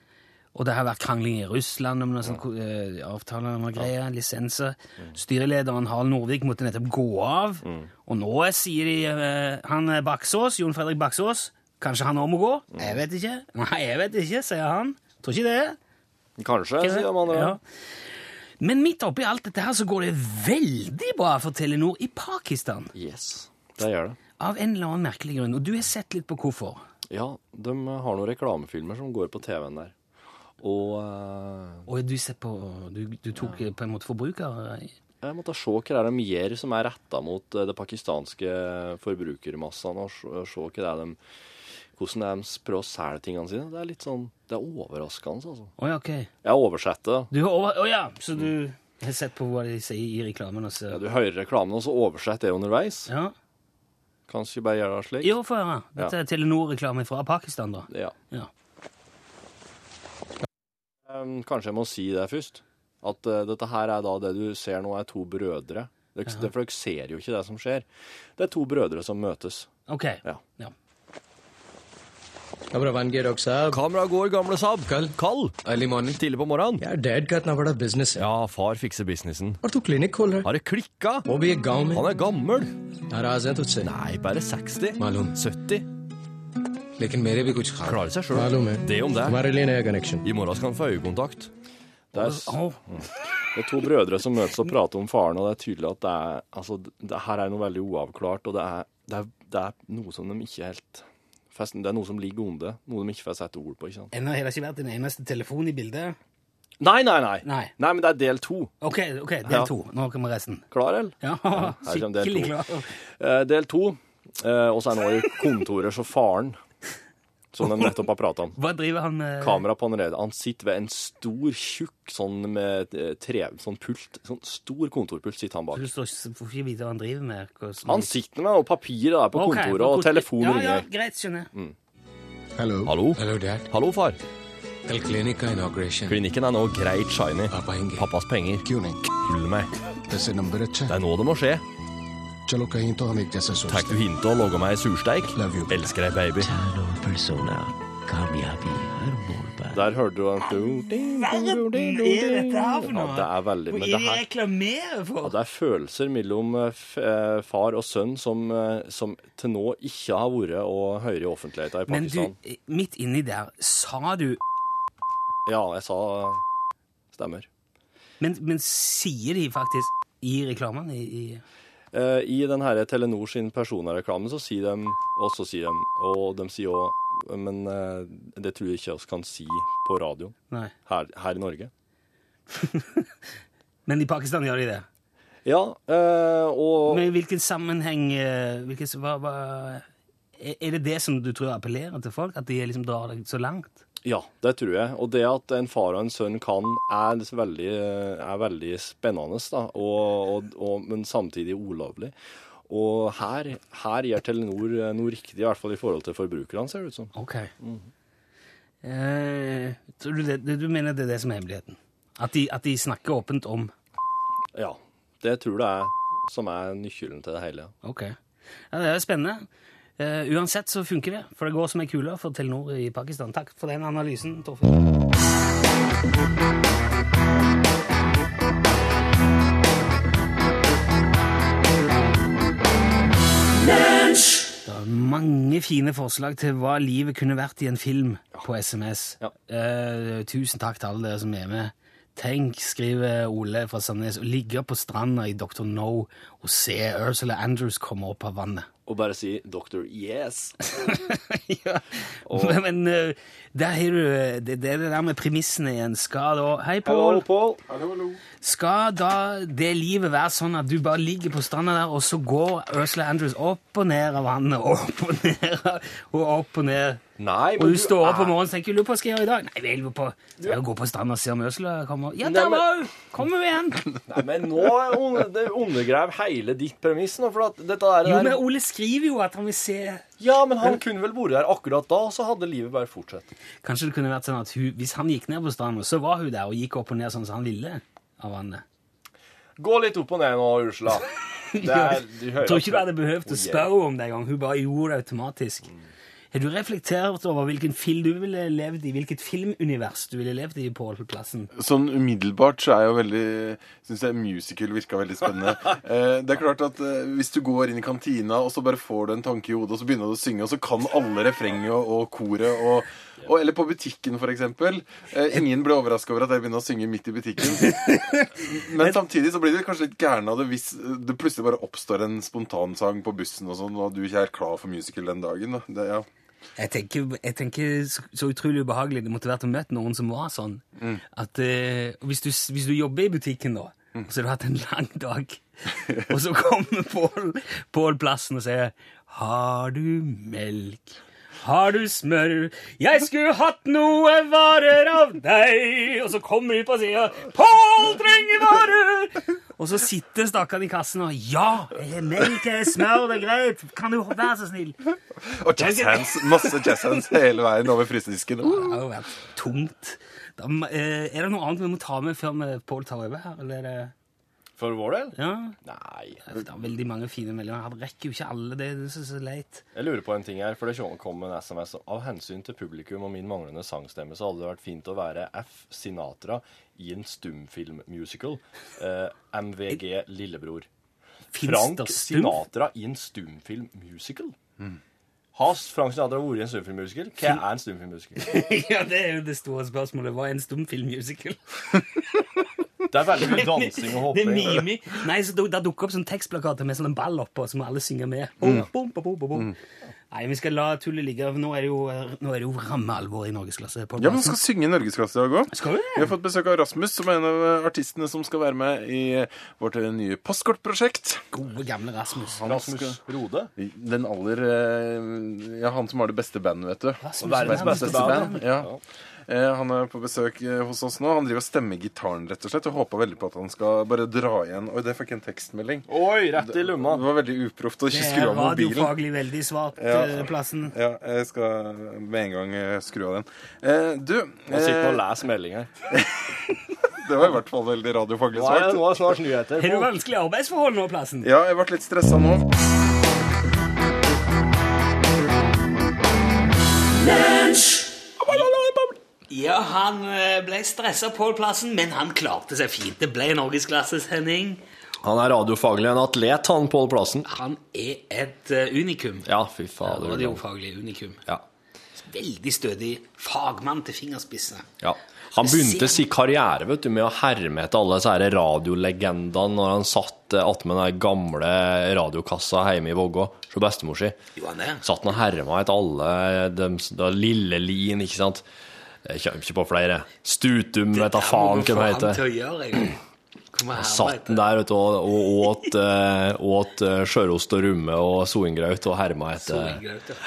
og det har vært krangling i Russland om noen sånne ko- eh, avtaler og noen greier, lisenser. Styrelederen Harald Norvik måtte nettopp gå av, Mm. og nå sier de eh, han eh, Baksås, Jon Fredrik Baksås, kanskje han også må gå? Mm. Jeg vet ikke. Nei, jeg vet ikke, sier han. Tror ikke det. Kanskje, Ikke det? sier de andre. Ja. Men midt oppi alt dette her så går det veldig bra for Telenor i Pakistan. Yes. Det gjør det. Av en eller annen merkelig grunn. Og du har sett litt på hvorfor. Ja, de har noen reklamefilmer som går på TV-en der. Og eh, Og du, ser på, du, du tok eh, på en måte forbruker... eh, jeg måtte se hva det er de gjør som er retta mot eh, det pakistanske forbrukermassene, og se se hva det er de hvordan de prøver å selge tingene sine. Det er litt sånn Det er overraskende, altså. Å ja, ok. Jeg oversetter. Du har over... Å ja, så du har sett på hva de sier i reklamen og så... Du hører reklamen, og så oversetter jeg underveis. Ja. Kanskje bare gjør det slik. Jo, få høre. Dette er Telenor-reklame fra Pakistan, da. Ja. Ja. Em, Kanskje jeg må si det først. At eh, dette her er da det du ser nå, er to brødre. Dere, For dere ser jo ikke det som skjer. Det er to brødre som møtes. Ok. Ja. Ja. कमरा बन के doctor साहब Kamera går, gamle Saab. कल Kall! Early morning Tidlig på morgenen. यार dad का इतना बड़ा business है Ja, far fikser businessen. और तू क्लिनिक खोल रहा Har det klikka? है वो भी एक गांव में Han er gammel. नाराज है तुझसे Nei, bare 60. मालूम 70. लेकिन मेरे भी कुछ खास Klarer seg sjøl. मालूम है Det om det. तुम्हारे लिए नया connection I morgen skal han få øyekontakt. Det er, s- Å, det er to brødre som møtes og prater om faren, og det er tydelig at det er Altså, det her er noe veldig uavklart, og det er, det er, det er noe som de ikke helt fest- Det er noe som ligger under, noe de ikke får sette ord på, ikke sant? ennå har det ikke vært en eneste telefon i bildet. Nei, nei, nei! Nei. nei men det er del to. Ok, ok, del Ja. to. Nå kommer resten. Klar, eller? Ja, her kommer del skikkelig to. klar. Eh, del to. Eh, og så er nå i kontoret så faren, som de nettopp har prata om. Hva driver han med? kamera på han allerede. Han sitter ved en stor, tjukk sånn med eh, tre, sånn pult, sånn stor kontorpult sitter han Du bak. står ikke, får ikke vite hva han driver med. hvordan- Han sitter med noe papir der på Ok, kontoret, og Mm, telefonen ja, Ja, ringer. greit, skjønner jeg. Hello Hallo? Hello dad Hallo, far. कल clinic का inauguration Klinikken er nå greit shiny. आप आएंगे Pappas penger. क्यों नहीं Følg meg. वैसे नंबर अच्छा है er nå det må skje. चलो कहीं तो हम एक जैसे सोचते Fikk du hint og logga meg i sursteik? Love you. Elsker deg, baby. Der hørte du en Ja, det er veldig Men det her reklamerer ja, for? det er følelser mellom eh, f eh, far og sønn som, eh, som til nå ikke har vært å høre i offentligheten i Men du, eh, Pakistan. midt inni der, sa du Ja, jeg sa eh, stemmer. Men, men sier de faktisk i reklamen? I, i Eh, I den her Telenor sin personreklame så sier de, og så sier de, og de sier også, men eh, det tror jeg ikke oss kan si på radio Nei. her, her i Norge. Men i Pakistan gjør de det. Ja, eh, og Men i hvilken sammenheng eh, hvilken, s- hva, hva, Er er det det som du tror appellerer til folk? At de liksom drar deg så langt? ja, det tror jeg. Og det at en far og en sønn kan, er liksom veldig, er veldig spennende, da, og, og, og, men samtidig ulovlig. Og her, her gjør Telenor eh, noe riktig, i hvert fall i forhold til forbrukerne, ser det ut som. Ok. Eh, tror du, det, du mener det er det som er hemmeligheten? At de, at de snakker åpent om Ja, det tror jeg det er som er nykkelen til det hele, ja. Ok. Ja, det er spennende. Eh, uansett så funker det, for det går som ei kule for Telenor i Pakistan. Takk for den analysen, Torfinn. Det er mange fine forslag til hva livet kunne vært i en film på SMS. Ja. Eh, tusen takk til alle dere som er med. Tenk, skriver Ole fra Sandnes, å ligge på stranda i Dr. No og se Ursula Andrews komme opp av vannet. og bare si 'Doctor Yes'. ja. Men eh, der har du eh, det, det er det der med premissene igjen. Skal da Hei, Pål. Pål. Skal da det livet være sånn at du bare ligger på stranda der, og så går Ursula Andrews opp og ned av vannet, og opp og ned og opp og ned? Nei, Ah. Og du står opp om morgenen og tenker 'Lurer på hva skal jeg gjøre i dag?' Nei, jeg lurer på Skal jeg gå på stranda og se om Ursula kommer? Ja, der men- var hun! Kommer hun igjen? Nei, men nå un- det undergrav hele ditt premiss nå, for at dette der, Jo, men Ole skriver jo at han vil se Ja, men han kunne vel vært der akkurat da, og så hadde livet bare fortsatt. Kanskje det kunne vært sånn at hun, hvis han gikk ned på stranda, så var hun der og gikk opp og ned sånn som han ville av vannet. Gå litt opp og ned nå, Ursula. Det er, du hører Jeg tror ikke du at- hadde behøvd å Oh, yeah. spørre om det engang. Hun bare gjorde det automatisk. Har du reflektert over hvilken film du ville levd i, hvilket filmunivers du ville levd i, Pål Plassen? Sånn umiddelbart så er jo veldig Syns jeg musical virka veldig spennende. Eh, det er klart at eh, Hvis du går inn i kantina, og så bare får du en tanke i hodet, og så begynner du å synge, og så kan alle refrenget og, og koret og, og Eller på butikken, for eksempel. Eh, ingen ble overraska over at jeg begynner å synge midt i butikken. Men samtidig så blir du kanskje litt gæren av det hvis det plutselig bare oppstår en spontansang på bussen og sånn, og du ikke er klar for musical den dagen. Da. Det, ja. Jeg tenker, jeg tenker så, så utrolig ubehagelig det måtte vært å møte noen som var sånn. At eh, hvis, du, hvis du jobber i butikken da, og så har du hatt en lang dag, og så kommer Pål Pål Plassen og sier Har du melk? Har du smør? Jeg skulle hatt noe varer av deg! Og så kommer de ut på sida. Pål trenger varer! Og så sitter stakkaren i kassen og Ja, jeg har melk, jeg har smør, det er greit. Kan du være så snill? Og jazz hands! Masse jazz hands hele veien over frysedisken. Det har jo vært tungt. Da, må- eh, er det noe annet vi må ta med før vi Pål tar over her? Eller er det, For vår del? ja? Nei. det er veldig mange fine meldinger. Han rekker jo ikke alle. Det er så, så leit. Jeg lurer på en ting her, for det kom en SMS. Av hensyn til publikum og min manglende sangstemme, så hadde det vært fint å være F. Sinatra i en stumfilmmusical. Eh, MVG Lillebror. Finnes Frank det stum? Sinatra i en stumfilmmusical? Mm. Har Frank Sinatra vært i en stumfilmmusical? Hva er en stumfilmmusical? ja, det er jo det store spørsmålet. Hva er en stumfilmmusical? Det er veldig mye dansing og Det er hopping. mimi. Nei, så da dukker opp sånn tekstplakater med sånn en ball oppå, så må alle synge med. Bom, bom, bom, bom, bom, bom. Nei, vi skal la tullet ligge. Nå er det jo, nå er det jo rammealvor i norgesklasse. Pål Ja, men han Plassen. skal synge i norgesklasse i dag òg. Skal vi det? Vi har fått besøk av Rasmus, som er en av eh, artistene som skal være med i eh, vårt eh, nye postkortprosjekt. Gode, gamle Rasmus. Rasmus Rode. Den aller eh, Ja, han som har det beste bandet, vet du. Rasmus, Verdens Rasmus, beste band. Rasmus. Ja. Eh, Han er på besøk eh, hos oss nå. Han driver og stemmer gitaren, rett og slett. Og håper veldig på at han skal bare dra igjen. Oi, det fikk jeg en tekstmelding. Oi, rett i Det lomma. var veldig uproft å Det ikke er skru av mobilen. radiofaglig veldig svart, Ja. eh, Plassen. Ja, jeg skal med en gang eh, skru av den. Eh, Du Han sitter og eh, leser melding her. Det var i hvert fall veldig radiofaglig svart. nå er snart nyheter. Har du vanskelige arbeidsforhold nå, Plassen? Ja, jeg ble litt stressa nå. Ja, han eh, ble stressa på plassen, men han klarte seg fint. Det ble norgesklassesending. Han er radiofaglig en atlet, han Pål Plassen. Han er et eh, unikum. Ja, fy fader. Radiofaglig unikum. Ja. Veldig stødig. Fagmann til fingerspissene. Ja. Han begynte sin karriere vet du, med å herme etter alle disse her radiolegendene når han satt eh, attmed den der gamle radiokassa hjemme i Vågå hos bestemor si. Jo, han er. Satt han og herma etter alle dem som- da Lille Lien, ikke sant? Jeg kommer ikke på flere. Stutum, vet da faen hva de Det heter. der må du få han til å gjøre, jeg. Kom her, Satt vet han du. der vet du, og og åt, eh, åt eh, sjørost og rumme og soingraut og herma Så etter lenge, vet du.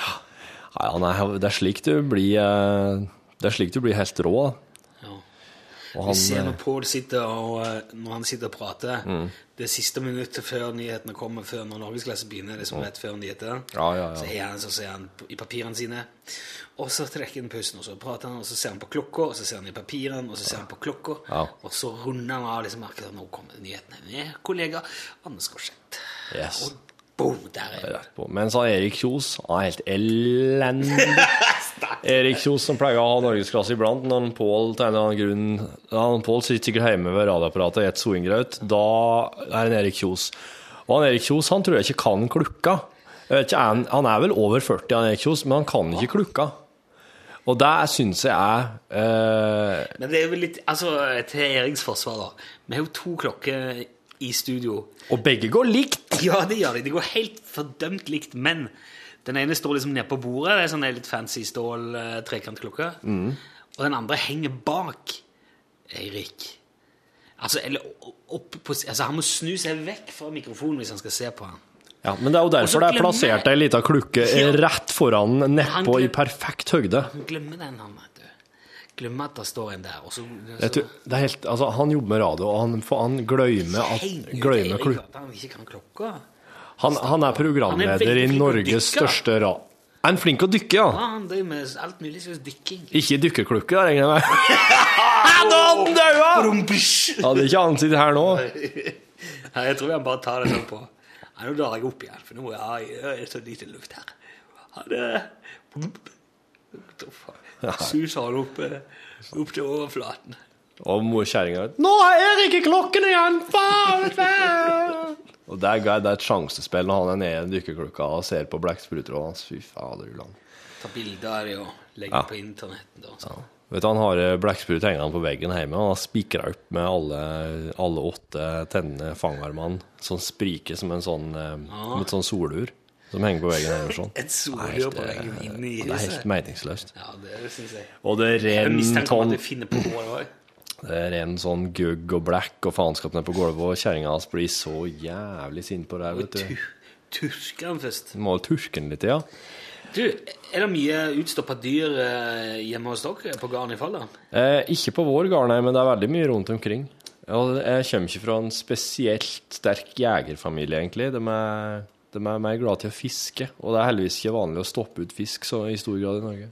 Nei, han er, det er slik du blir eh, Det er slik du blir helt rå. da. Ja. Og Vi ser han, eh, når Pål sitter og eh, når han sitter og prater Mm. Det siste minuttet før nyhetene kommer, før når norgesklasse begynner, det er som rett før nyheter, Mm. Ja, ja, ja. så er han så ser han p- i papirene sine, og så trekker han pusten, og så prater han, og så ser han på klokka, og så ser han i papirene, og så ser han på klokka, Ja. og så runder han av liksom merker at nå kommer nyhetene med kollega Anders Korseth. eh, yes. Boom, der er det. rett på. Mens han Erik Kjos han er helt elendig. Erik Kjos som pleier å ha norgesklasse iblant, når han Pål til en eller annen grunn ja, han Pål sitter sikkert hjemme ved radioapparatet og spiser soingraut, da er han Erik Kjos. Og han Erik Kjos han tror jeg ikke kan klukka. Jeg vet ikke, er han, han er vel over 40, han Erik Kjos, men han kan ikke klukka. Og det syns jeg er eh, Men det er vel litt, altså til Eriks forsvar da, vi har jo to klokker i studio, Og begge går likt! Ja, det gjør de. De går helt fordømt likt, men den ene står liksom nede på bordet, det er sånn en litt fancy stål eh, trekantklokke, Mm. og den andre henger bak Eirik. Altså, eller opp på, altså, han må snu seg vekk fra mikrofonen hvis han skal se på han. Ja, Men det er jo så derfor det er glemmer plassert ei jeg- lita klukke Ja. rett foran Han nedpå i glem- perfekt høgde. Han glemmer den, han, vet du. Glemmer at det står en der, og så... Jeg så- tror, det er helt, altså, han jobber med radio, og han, for han glemmer at Herregud, glemmer Eirik, klubb. at Han ikke kan klokka. Han, han er Han er programleder veldig i flink å Norges dykke, da. største ra... Er han flink å dykke, Ja, ja? han driver med alt mulig slags dykking. Ikke i dykkeklukke, da, regner jeg med. Han hadde daua! Hadde ikke han sittet her nå? Nei, jeg tror han bare tar det sånn på. Nei, nå drar jeg opp igjen, for nå er jeg- er det så lite luft her. Ha det. Suser han opp, eh, opp til overflaten. Og mor kjerringa Nå er ikke klokken igjen! Faen! faen!» Og det er, gøy, det er et sjansespill når han er nede i dykkerklokka og ser på blekkspruttrådet hans. Fy fader, land. Ta bilder av det og legge Ja. på internetten. Da, så. Vet du, Han har eh, blekksprut hengende på veggen hjemme. og Han har spikra opp med alle, alle åtte tennene fangarmene som spriker som en sånn, eh, som et sånn solur som henger på veggen hjemme. Sånn. Et solur Det er helt, på veggen eh, inne i Det er huset. helt meningsløst. Ja, det syns jeg. Og det Jeg renner mistenker om at sånn, du finner på noe. det renner sånn gugg og black og faenskap ned på gulvet, og kjerringa hans blir så jævlig sint på det her, vet du. Turker han først. Du Må jo turke den litt, ja. Du, er det mye utstoppa dyr eh, hjemme hos dere på gården i Folldal? Eh, ikke på vår gard, nei, men det er veldig mye rundt omkring. Og jeg kommer ikke fra en spesielt sterk jegerfamilie, egentlig. De er, de er mer glad til å fiske, og det er heldigvis ikke vanlig å stoppe ut fisk så, i stor grad i Norge.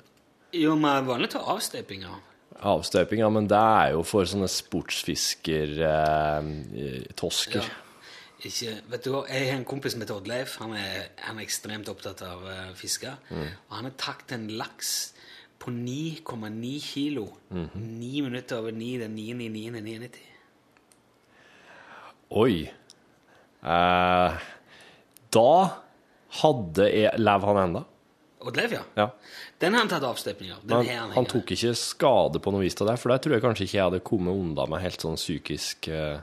Jo, vi er vanlig til avstøpinger. Avstøping, ja, men det er jo for sånne sportsfiskertosker. Eh, tosker. Ikke, vet du hva, Jeg har en kompis som heter Oddleif. Han er, han er ekstremt opptatt av uh, fiske. Mm. Og han har tatt en laks på 9,9 kilo. Ni Mhm. minutter over ni den 9.99.99. Oi. Eh, da hadde jeg Lev han enda? Oddleif, ja. Ja. Den har han tatt avstøpning av. Den Men har han, han hengende. tok ikke skade på noe vis av det, for det tror jeg kanskje ikke jeg hadde kommet unna med helt sånn psykisk eh,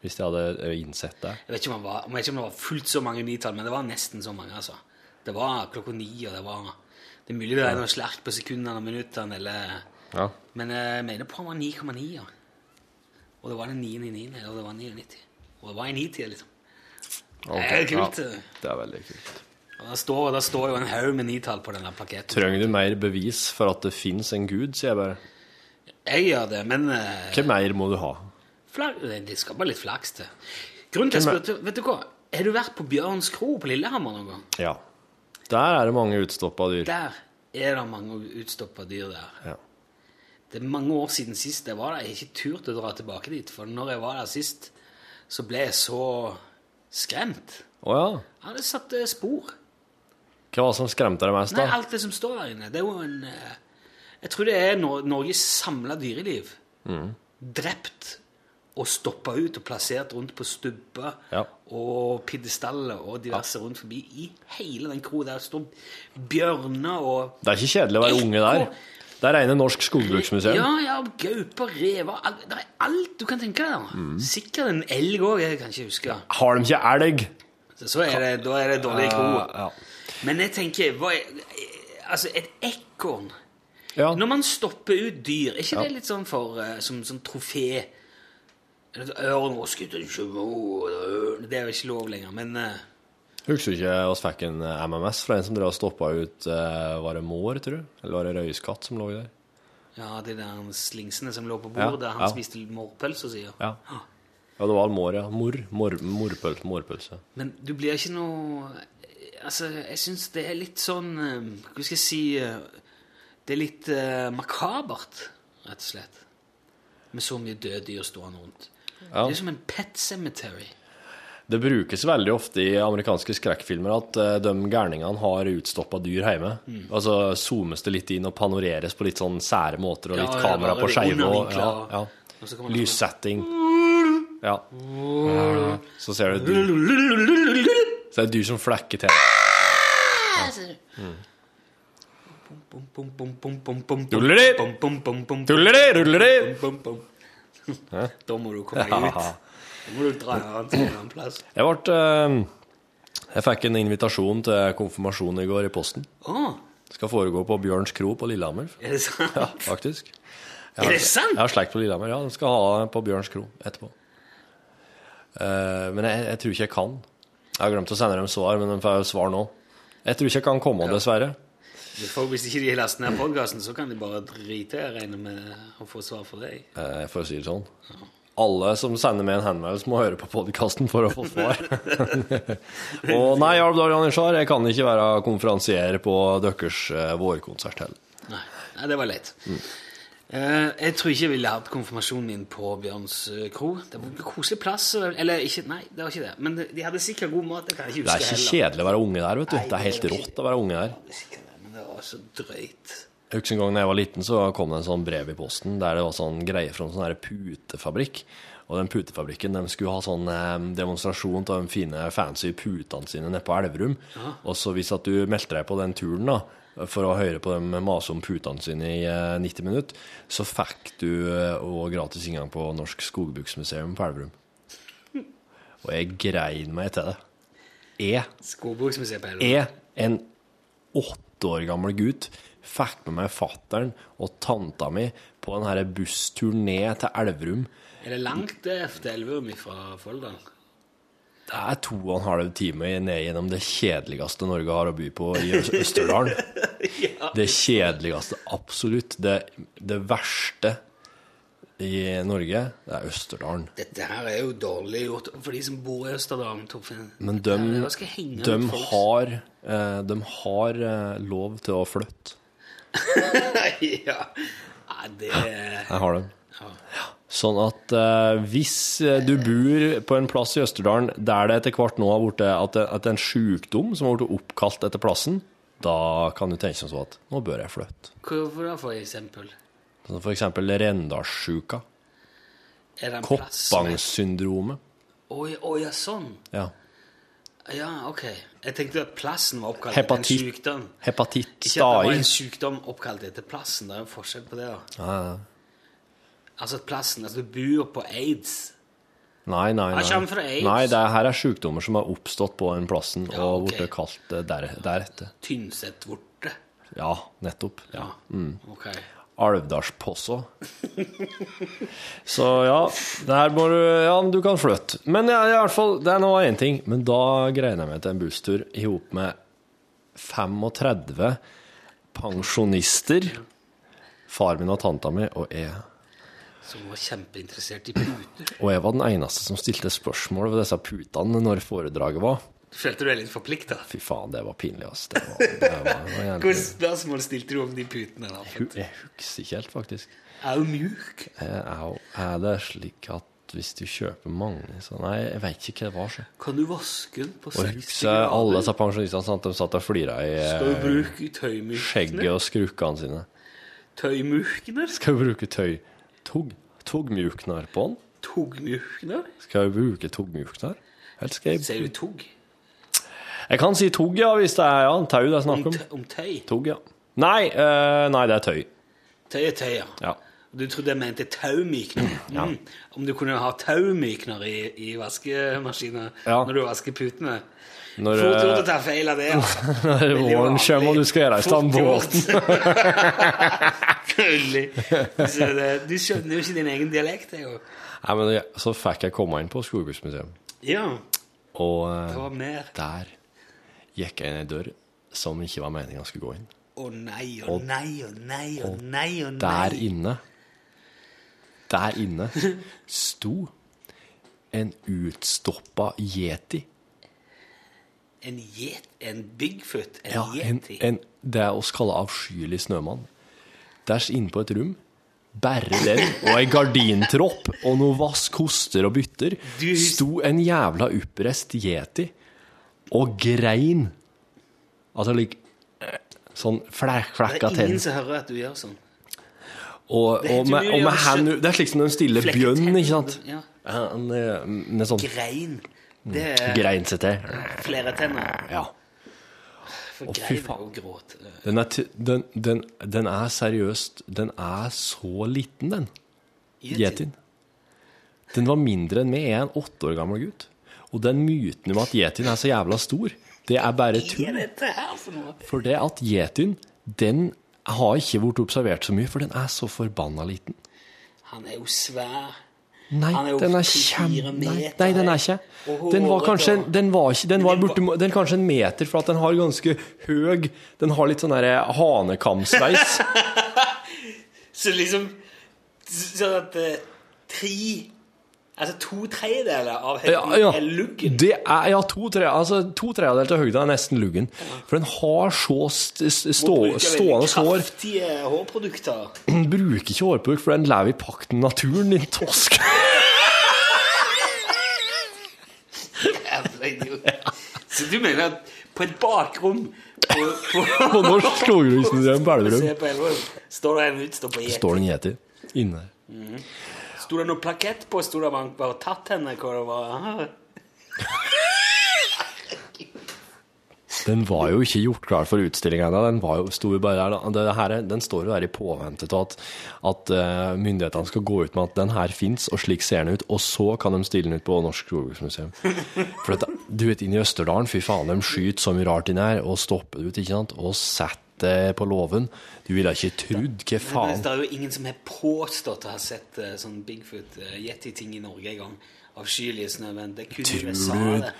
hvis jeg hadde eh, innsett det. Jeg vet ikke om, han var, om, jeg vet ikke om det var fullt så mange nitall, men det var nesten så mange. altså. Det var klokka ni, og det var Det er mulig det er noe slerk på sekundene og minuttene, eller Ja. Men eh, jeg mener på han var 9,9, ja. Og det var den 999, og det var 99. Og det var en 90, liksom. det er kult. Ja, det er veldig kult. Og der står, der står jo en haug med nitall på denne plaketten. Trenger du mer bevis for at det fins en gud, sier jeg bare. Jeg gjør det, men eh, Hva mer må du ha? Flak, det skal bare litt flaks til. Grunnen til at jeg spurte, vet du hva? Har du vært på Bjørns kro på Lillehammer noen gang? Ja. Der er det mange utstoppa dyr. Der er det mange utstoppa dyr der. Ja. Det er mange år siden sist jeg var der. Jeg har ikke turt å dra tilbake dit. For når jeg var der sist, så ble jeg så skremt. Å ja. Ja, det satte eh, spor. Hva var det som skremte deg mest, Nei, da? alt det som står der inne. Det er jo en eh, Jeg tror det er Nor Norges samla dyreliv. Mm. Drept og stoppa ut og plassert rundt på stubber Ja. og pidestaller og diverse rundt forbi i hele den kroa der står bjørner og Det er ikke kjedelig å være unge der. Det er rene Norsk Skogbruksmuseum. Ja, ja, gauper, rever alt, Det er alt du kan tenke deg. da. Mm. Sikkert en elg òg, jeg kan ikke huske. Har de ikke elg? Så, så er det, da er det dårlig Eh, ja. ro. Men jeg tenker hva er, Altså, et ekorn Ja. Når man stopper ut dyr, er ikke det litt sånn for eh, som, som trofé? Eller et Ørn og skutt og tjue- Det er jo ikke lov lenger, men eh, Husker du ikke oss fikk en eh, MMS fra en som drev og stoppa ut eh, Var det mår, tror du? Eller var det røyskatt som lå der? Ja, de der slingsene som lå på Ja, bordet, han ja. spiste morpølse, sier Ja. ja, det var mår, ja. Mor, mor, morpøl, morpølse. Men du blir ikke noe Altså, jeg syns det er litt sånn eh, Hva skal jeg si eh, Det er litt eh, makabert, rett og slett. Med så mye døde dyr stående rundt. Det er jo som en pet cemetery. Det brukes veldig ofte i amerikanske skrekkfilmer at eh, de gærningene har utstoppa dyr hjemme. Mm. Altså zoomes det litt inn og panoreres på litt sånn sære måter, og Ja, litt ja, kamera bare på litt skeive og undervinkler, ja, og- ja. og så liksom- kommer det- Lyssetting. Ja. Mm. Så ser du et dyr. Så er det dyr som flekker til. Tuller de? Ruller de, ruller de! Da må du komme deg ut. Da må du dra en annen plass. Jeg ble eh, Jeg fikk en invitasjon til konfirmasjon i går i posten. Å, Skal foregå på Bjørns kro på Lillehammer, er det sant? faktisk. Er det sant? Jeg har slekt på Lillehammer. Ja, de skal ha det på Bjørns kro etterpå. Eh, men jeg, jeg tror ikke jeg kan. Jeg har glemt å sende dem svar, men de får jo svar nå. Jeg tror ikke jeg kan komme, dessverre. Du får- Hvis ikke de laster ned podkasten, så kan de bare drite i å regne med å få svar fra deg. Eh, for å si det sånn. Alle som sender med en henvendelse, må høre på podkasten for å få svar. Og nei, Jarl Dahl Janitsjar, jeg kan ikke være konferansier på deres eh, vårkonsert heller. Nei, Nei det var leit. Mm. Eh, jeg tror ikke jeg ville hatt konfirmasjonen min på Bjørns eh, kro. Det var en koselig plass. eh, Eller ikke, nei, det var ikke det. Men de hadde sikkert god mat. Det kan jeg Det ikke huske er ikke heller. kjedelig å være unge der, vet du. Nei, Det er helt det er rått å være unge der. Det er sikkert det, Men det var så drøyt. Jeg husker en gang da jeg var liten, så kom det en sånn brev i posten der det var sånn greie fra en sånn her putefabrikk. Og den putefabrikken de skulle ha sånn eh, demonstrasjon av de fine, fancy putene sine nede på Elverum. Og så hvis at du meldte deg på den turen, da, for å høre på dem mase om putene sine i eh, 90 minutter, så fikk du eh, og gratis inngang på Norsk Skogbruksmuseum på Elverum. Og jeg grein meg til det. Jeg Skogbruksmuseet på Helleland. jeg, en åtte år gammel gutt, fikk med meg fatteren og tanta mi på den her bussturen ned til Elverum. Er det langt det til Elverum fra Folldal? Det er to og en halv time ned gjennom det kjedeligste Norge har å by på i Øst- Østerdalen. Det kjedeligste, absolutt. Det, det verste i Norge, det er Østerdalen. Dette her er jo dårlig gjort for de som bor i Østerdalen. Torfinn. Men de, Ja, det skal henge de med folk. har, eh, de har eh, lov til å flytte. ja. Nei, det er Jeg har dem. Sånn at eh, hvis eh, du bor på en plass i Østerdalen der det etter hvert nå har blitt at, det- at det er en sjukdom som har blitt oppkalt etter plassen, da kan du tenke som så at nå bør jeg flytte. Hvorfor da, for eksempel? Sånn for eksempel Rendalssjuka. Er det en plass som er- Koppangssyndromet. Oi, oi, ja, sånn. Ja. Ja, ok. Jeg tenkte at plassen var oppkalt Hepatitt. etter en sykdom. Hepatitt, Ikke at det stai. var en sykdom oppkalt etter plassen. Det er jo forskjell på det. da. Ja, ja. Altså at plassen Altså, du bor på aids. Nei, nei, Jeg kommer fra nei. Aids. nei det er, her er sjukdommer som har oppstått på den plassen Ja, og ok. blitt kalt eh, der, deretter. Tynset-vorte. Ja, Mm. nettopp. Ja. Ok. Alvdalsposso. Så ja, der må du Ja, men du kan flytte. Men ja, i hvert fall, det er nå én ting. Men da greide jeg meg til en busstur i hop med 35 pensjonister. Far min og tanta mi og jeg. Som var kjempeinteressert i puter. Og jeg var den eneste som stilte spørsmål ved disse putene når foredraget var. Følte du deg litt forplikta? Fy faen, det var pinlig, ass. Det var, det var, det var Hvilke jævlig. spørsmål stilte du om de putene? da? Hu- Jeg husker ikke helt, faktisk. Er du mjuk? Eh, au, Er det slik at hvis du kjøper mange så Nei, jeg veit ikke hva det var. Så. Kan du vaske den på Og 60 husker alle disse pensjonistene sant? de satt og flira i Skal du eh, bruke tøymykene? skjegget og skrukkene sine. Tøymykene? Skal vi bruke tøy tog, togmjukner på den? Togmykene? Skal vi bruke togmjukner? Helt skrevet. Sier du tog? Jeg kan si tog, ja, hvis det er ja, tau det er snakk Om, om. tø- om tøy? Tog, ja. Nei, eh, nei, det er tøy. Tøy er tøy, ja. Ja. Du trodde jeg mente taumykner? Mm. Om du kunne ha taumykner i, i vaskemaskinen Ja. når du vasker putene? Når, Fort gjort eh, å ta feil av det. altså. når Veldig våren vanlig. kommer og du skal reise til Fort båten gjort. Veldig. Så det- Du skjønner jo ikke din egen dialekt, jeg òg. Nei, men jeg, Så fikk jeg komme inn på Skogbruksmuseet, Ja, og det var eh, mer. der gikk jeg inn ei dør som ikke var meninga skulle gå inn. Å nei, å nei, å nei, å nei, å nei. Der inne Der inne sto en utstoppa yeti. En get, en bigfoot, en Ja, en, yeti. en, det er oss kaller avskyelig snømann. Ders inne på et rom. Bare den og ei gardintropp og noe vask, koster og bytter Du- sto en jævla oppreist yeti og grein. Altså lik eh, sånn flæk, det flekka er ingen tenn. som hører at du gjør sånn. Og, Det er og helt med, umulig og med å hand, skjø- det er slik som når en stiller Flekke bjønn, tenn, ikke sant? ja. Han, eh, Med sånn Grein. Det er greinsete. flere tenner. Ja. For fy grein er faen. jo gråt. Den er, t- den, den, den er seriøst Den er så liten, den. Yetien. Den var mindre enn meg. Jeg er en åtte år gammel gutt. Og den myten om at yetien er så jævla stor, det er bare Hva er tull. dette her for noe? For det at yetien, den har ikke blitt observert så mye, for den er så forbanna liten. Han er jo svær. Nei, Han er jo den er 24 kjem... Nei, meter nei, den er ikke Og Den var håret kanskje og- Den var ikke Den var den borte, den er kanskje en meter, for at den har ganske høg Den har litt sånn derre hanekamsveis. Så liksom s- Sånn at eh, tre Altså to tredjedeler av hele Ja, ja. er luggen. Det er, ja, to tre- altså, to tredjedeler til høyde er nesten luggen. For den har så st st Må stå bruke veldig stående hår. Kraftige hårprodukter. Den bruker ikke hårpulk, for den lever i pakt med naturen, din tosk. Jævla idiot. Så du mener at på et bakrom på, på, På norsk skogbruksmuseum Belverum Se på Elverum, står det en utstoppa gjet. står det en yeti inne. Sto det noe plakett på? Sto det at man bare tatt henne? Hva det var? Aha. Den var jo ikke gjort klar for utstilling ennå. Den, var jo, sto jo bare der, da. det her, er- den står jo der i påvente av at, at eh, myndighetene skal gå ut med at den her fins, og slik ser den ut, og så kan de stille den ut på Norsk Jordbruksmuseum. For dette, du vet, inne i Østerdalen, fy faen, de skyter så mye rart inn her, og stopper det ut, ikke sant, og setter det på låven. Du ville ikke trudd, hva Men faen? det er jo ingen som har påstått å ha sett eh, sånn Bigfoot eh, yeti-ting i Norge en gang. Avskyelige snømenn. Det kunne Tror USA, du- det.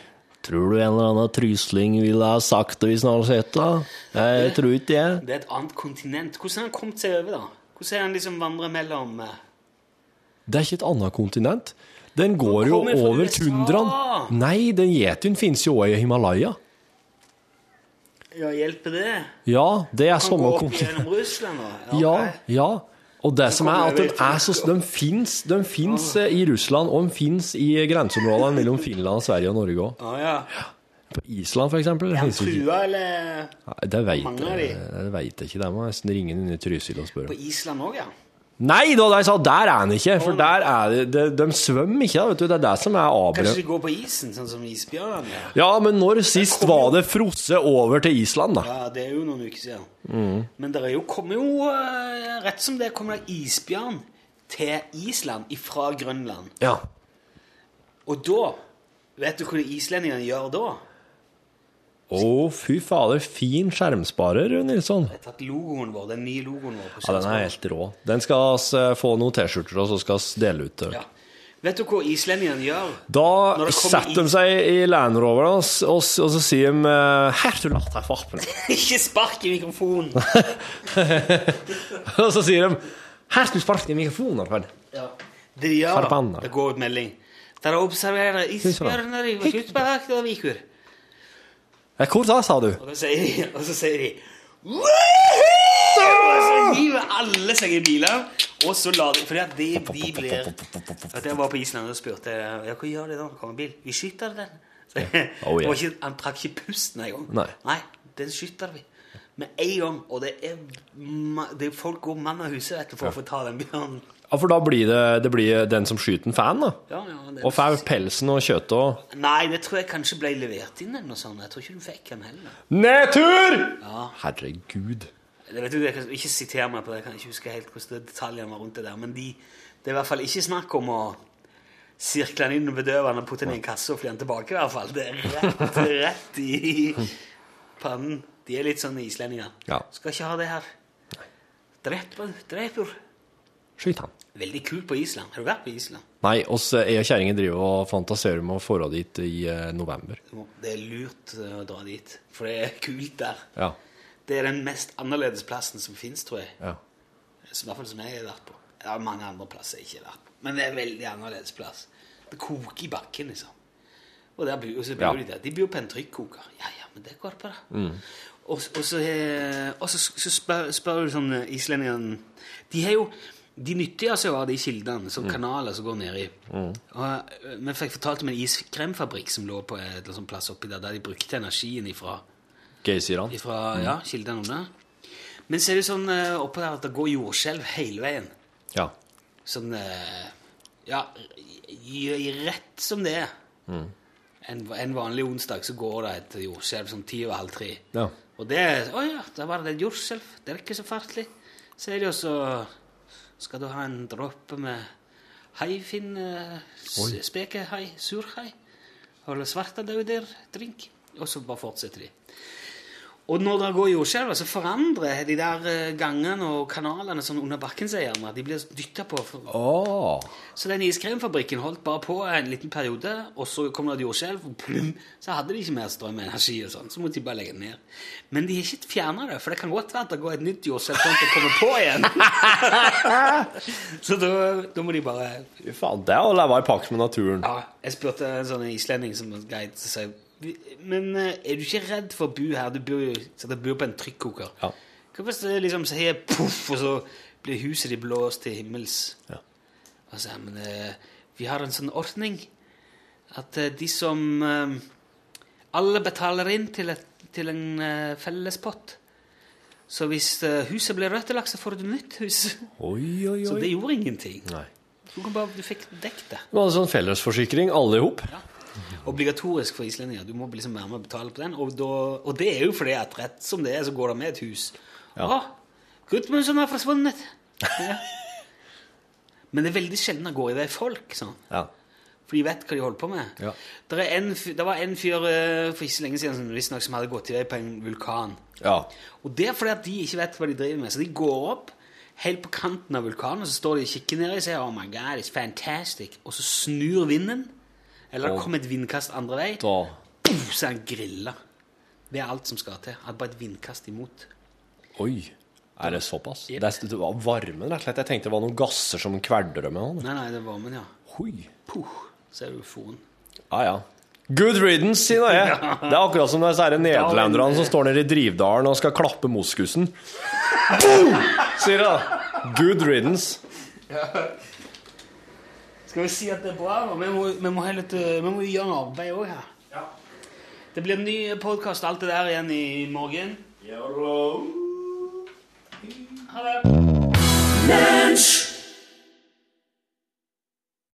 Tror du en eller annen trysling ville ha sagt det hvis han hadde sett det? Jeg tror ikke det. Det er et annet kontinent. Hvordan har han kommet seg over, da? Hvordan har han liksom vandret mellom eh, Det er ikke et annet kontinent. Den går jo kommer fra over USA. tundraen. Nei, den yetien finnes jo også i Himalaya. Ja, hjelper det? Ja, det er Han samme går opp kontinent. gjennom Russland, da? Ja, ok. ja. Og det som er kommer Ah. at den over er så De fins, de fins eh, i Russland, og de fins i eh, grenseområdene mellom Finland, Sverige og Norge òg. Å ja. På Island, for eksempel. det Er han finnes jo ikke. trua, eller eh, Nei, Det veit Mange av jeg, de. det vet jeg ikke. Det må jeg nesten ringe inn i Trysil og spørre. På Island òg, ja? Nei da, de sa der er han ikke! For der er det, de, de svømmer ikke, da, vet du. Det er det som er avbrønnen. Kanskje de går på isen, sånn som isbjørnen? Ja, Ja, men når sist var det frosset over til Island, da? ja det er jo noen uker siden. Mm. Men det er jo kommer jo eh, Rett som det kommer det isbjørn til Island ifra Grønland. Ja. Og da Vet du hva de islendingene gjør da? Å, fy fader, fin skjermsparer, Nilsson. De har tatt logoen vår, den nye logoen vår. på Ja, den er skjermen. helt rå. Den skal oss eh, få noen T-skjorter, og så skal oss dele ut. det. Ja. Vet du hva islendingene gjør? Når Da det kommer setter de is- seg i Land Roveren, og, s- og, s- og så sier de eh, 'Her du lagt deg for appen'. Ikke spark i mikrofonen! Og så sier de 'Her du sparket i mikrofonen', Arpen'. Ja. Det de gjør, Forbanna. det går ut melding. Der observerer isbjørner i Kutberg og Vikur. Ja, "Eh, Hvor da, sa du? Og, da sier de, og så sier de «Woohoo!» Og så hiver alle seg i biler, og så lar de For de, de blir at Jeg var på Island og spurte ja, hva gjør de da når det kommer en bil. Vi skyter den. Oh, Så, yeah. det var ikke, han trakk ikke pusten engang. Nei. den skyter vi. Med en gang. Og det er, ma- det er folk går mann av huset vet du, for å få ta den bjørnen. Ja, For da blir det, det blir den som skyter en fan, da. Ja, ja, den- Og får pelsen og kjøttet og Nei, det tror jeg kanskje ble levert inn eller noe sånt. Jeg tror ikke hun fikk den heller. Nedtur! Herregud. Det vet du, jeg kan ikke sitere meg på det, jeg kan ikke huske helt hvordan det- detaljene var rundt det der, men de, det er i hvert fall ikke snakk om å sirkle den inn og bedøve den og putte den i en kasse og fly den tilbake, i hvert fall. Det er rett, rett i pannen. De er litt sånn islendinger. Ja. Skal ikke ha det her. Dreper, dreper. Skyt han. Veldig kult på Island. Har du vært på Island? Nei, oss, eh, jeg og kjerringa driver og fantaserer om å få dit i eh, november. Du må- Det er lurt eh, å dra dit, for det er kult der. Ja. Det er den mest annerledes plassen som finnes, tror jeg. ja. Som, I hvert fall som jeg har vært på. Det er mange andre plasser jeg ikke har vært på. Men det er en veldig annerledes plass. Det koker i bakken, liksom. Og der bor, og så bor Ja. de der. De bor på en trykkoker. Ja, ja, men det går bra. Og, s- og så, eh, og så, så spør, spør du sånn eh, islendingene De har jo de nyttiggjør seg jo av de kildene, som kanaler som går nedi. Og, eh, Vi fikk fortalt om en iskremfabrikk som lå på et eller annet plass oppi der, der de brukte energien ifra Gøy, sier han. fra ja, kildene under. Men så er det sånn eh, oppå der at det går jordskjelv hele veien. Ja. Sånn eh, Ja, i, i rett som det er. En, en vanlig onsdag så går det et jordskjelv sånn ti over halv tre. Ja. Og det er Å ja, der var det et jordskjelv. Det er ikke så farlig. Så er det jo så Skal du ha en dråpe med haifinn eh, s- Spekehai? Surhai? Eller svartedauder-drink? Og så bare fortsetter de. Og når det går jordskjelv, så forandrer de der eh, gangene og kanalene sånn under bakken seg gjerne. De blir dytta på. For... Åh. Så den iskremfabrikken holdt bare på en liten periode, og så kom det et jordskjelv, og plum, så hadde de ikke mer strøm og energi og sånn. Så måtte de bare legge den ned. Men de har ikke fjerna det, for det kan godt være at det går et nytt jordskjelv sånn at det kommer på igjen. så da, da må de bare Fy faen, det er å leve i pakt med naturen. ja, jeg spurte en sånn islending som var guide, så sa jeg "Vi- Men eh, er du ikke redd for å bo her? Du bor jo så du bor på en trykkoker. Ja. Hva hvis det liksom sier poff, og så blir huset ditt blåst til himmels? Ja. Og så, men eh, vi har en sånn ordning at eh, de som eh, Alle betaler inn til, et, til en eh, felles pott. Så hvis eh, huset blir røttelagt, så får du nytt hus. Oi, oi, Så det oi. gjorde ingenting. Nei. Du, kan bare, du fikk dekket det. Vi hadde sånn fellesforsikring, alle i hop. Obligatorisk for islendinger. Du må liksom være med og betale på den. Og, da, og det er jo fordi at rett som det er, så går det med et hus. Ah, Ja. Å, Gudmundsen har forsvunnet! Ja. Men det er veldig sjelden det går i vei folk. sånn. Ja. For de vet hva de holder på med. Ja. Der er en, fyr- det var en fyr eh, for ikke så lenge siden som visstnok som hadde gått i vei på en vulkan. ja. Og det er fordi at de ikke vet hva de driver med. Så de går opp helt på kanten av vulkanen, og så står de og kikker ned og sier Oh my god, it's fantastic. Og så snur vinden. Eller det Og- kommer et vindkast andre vei. Da. Puff, så er han grilla. Det er alt som skal til. At bare et vindkast imot. Oi. Er det såpass? Det, er, det var varmen, rett og slett. Jeg tenkte det var noen gasser som kveldrømmer sånn. med han. Nei, nei, det er varmen, ja. Oi. Puh, så er du foren. Ja, ja. Good riddance, sier nå jeg. Det er akkurat som disse her nederlenderne som står nede i Drivdalen og skal klappe moskusen. Boom! Sier jeg da. Good riddance. Skal vi si at det er bra? da? Vi må, vi må, ha litt, eh, vi må jo gjøre noe arbeid òg her. Det blir en ny podkast, alt det der, igjen i morgen. Ha det.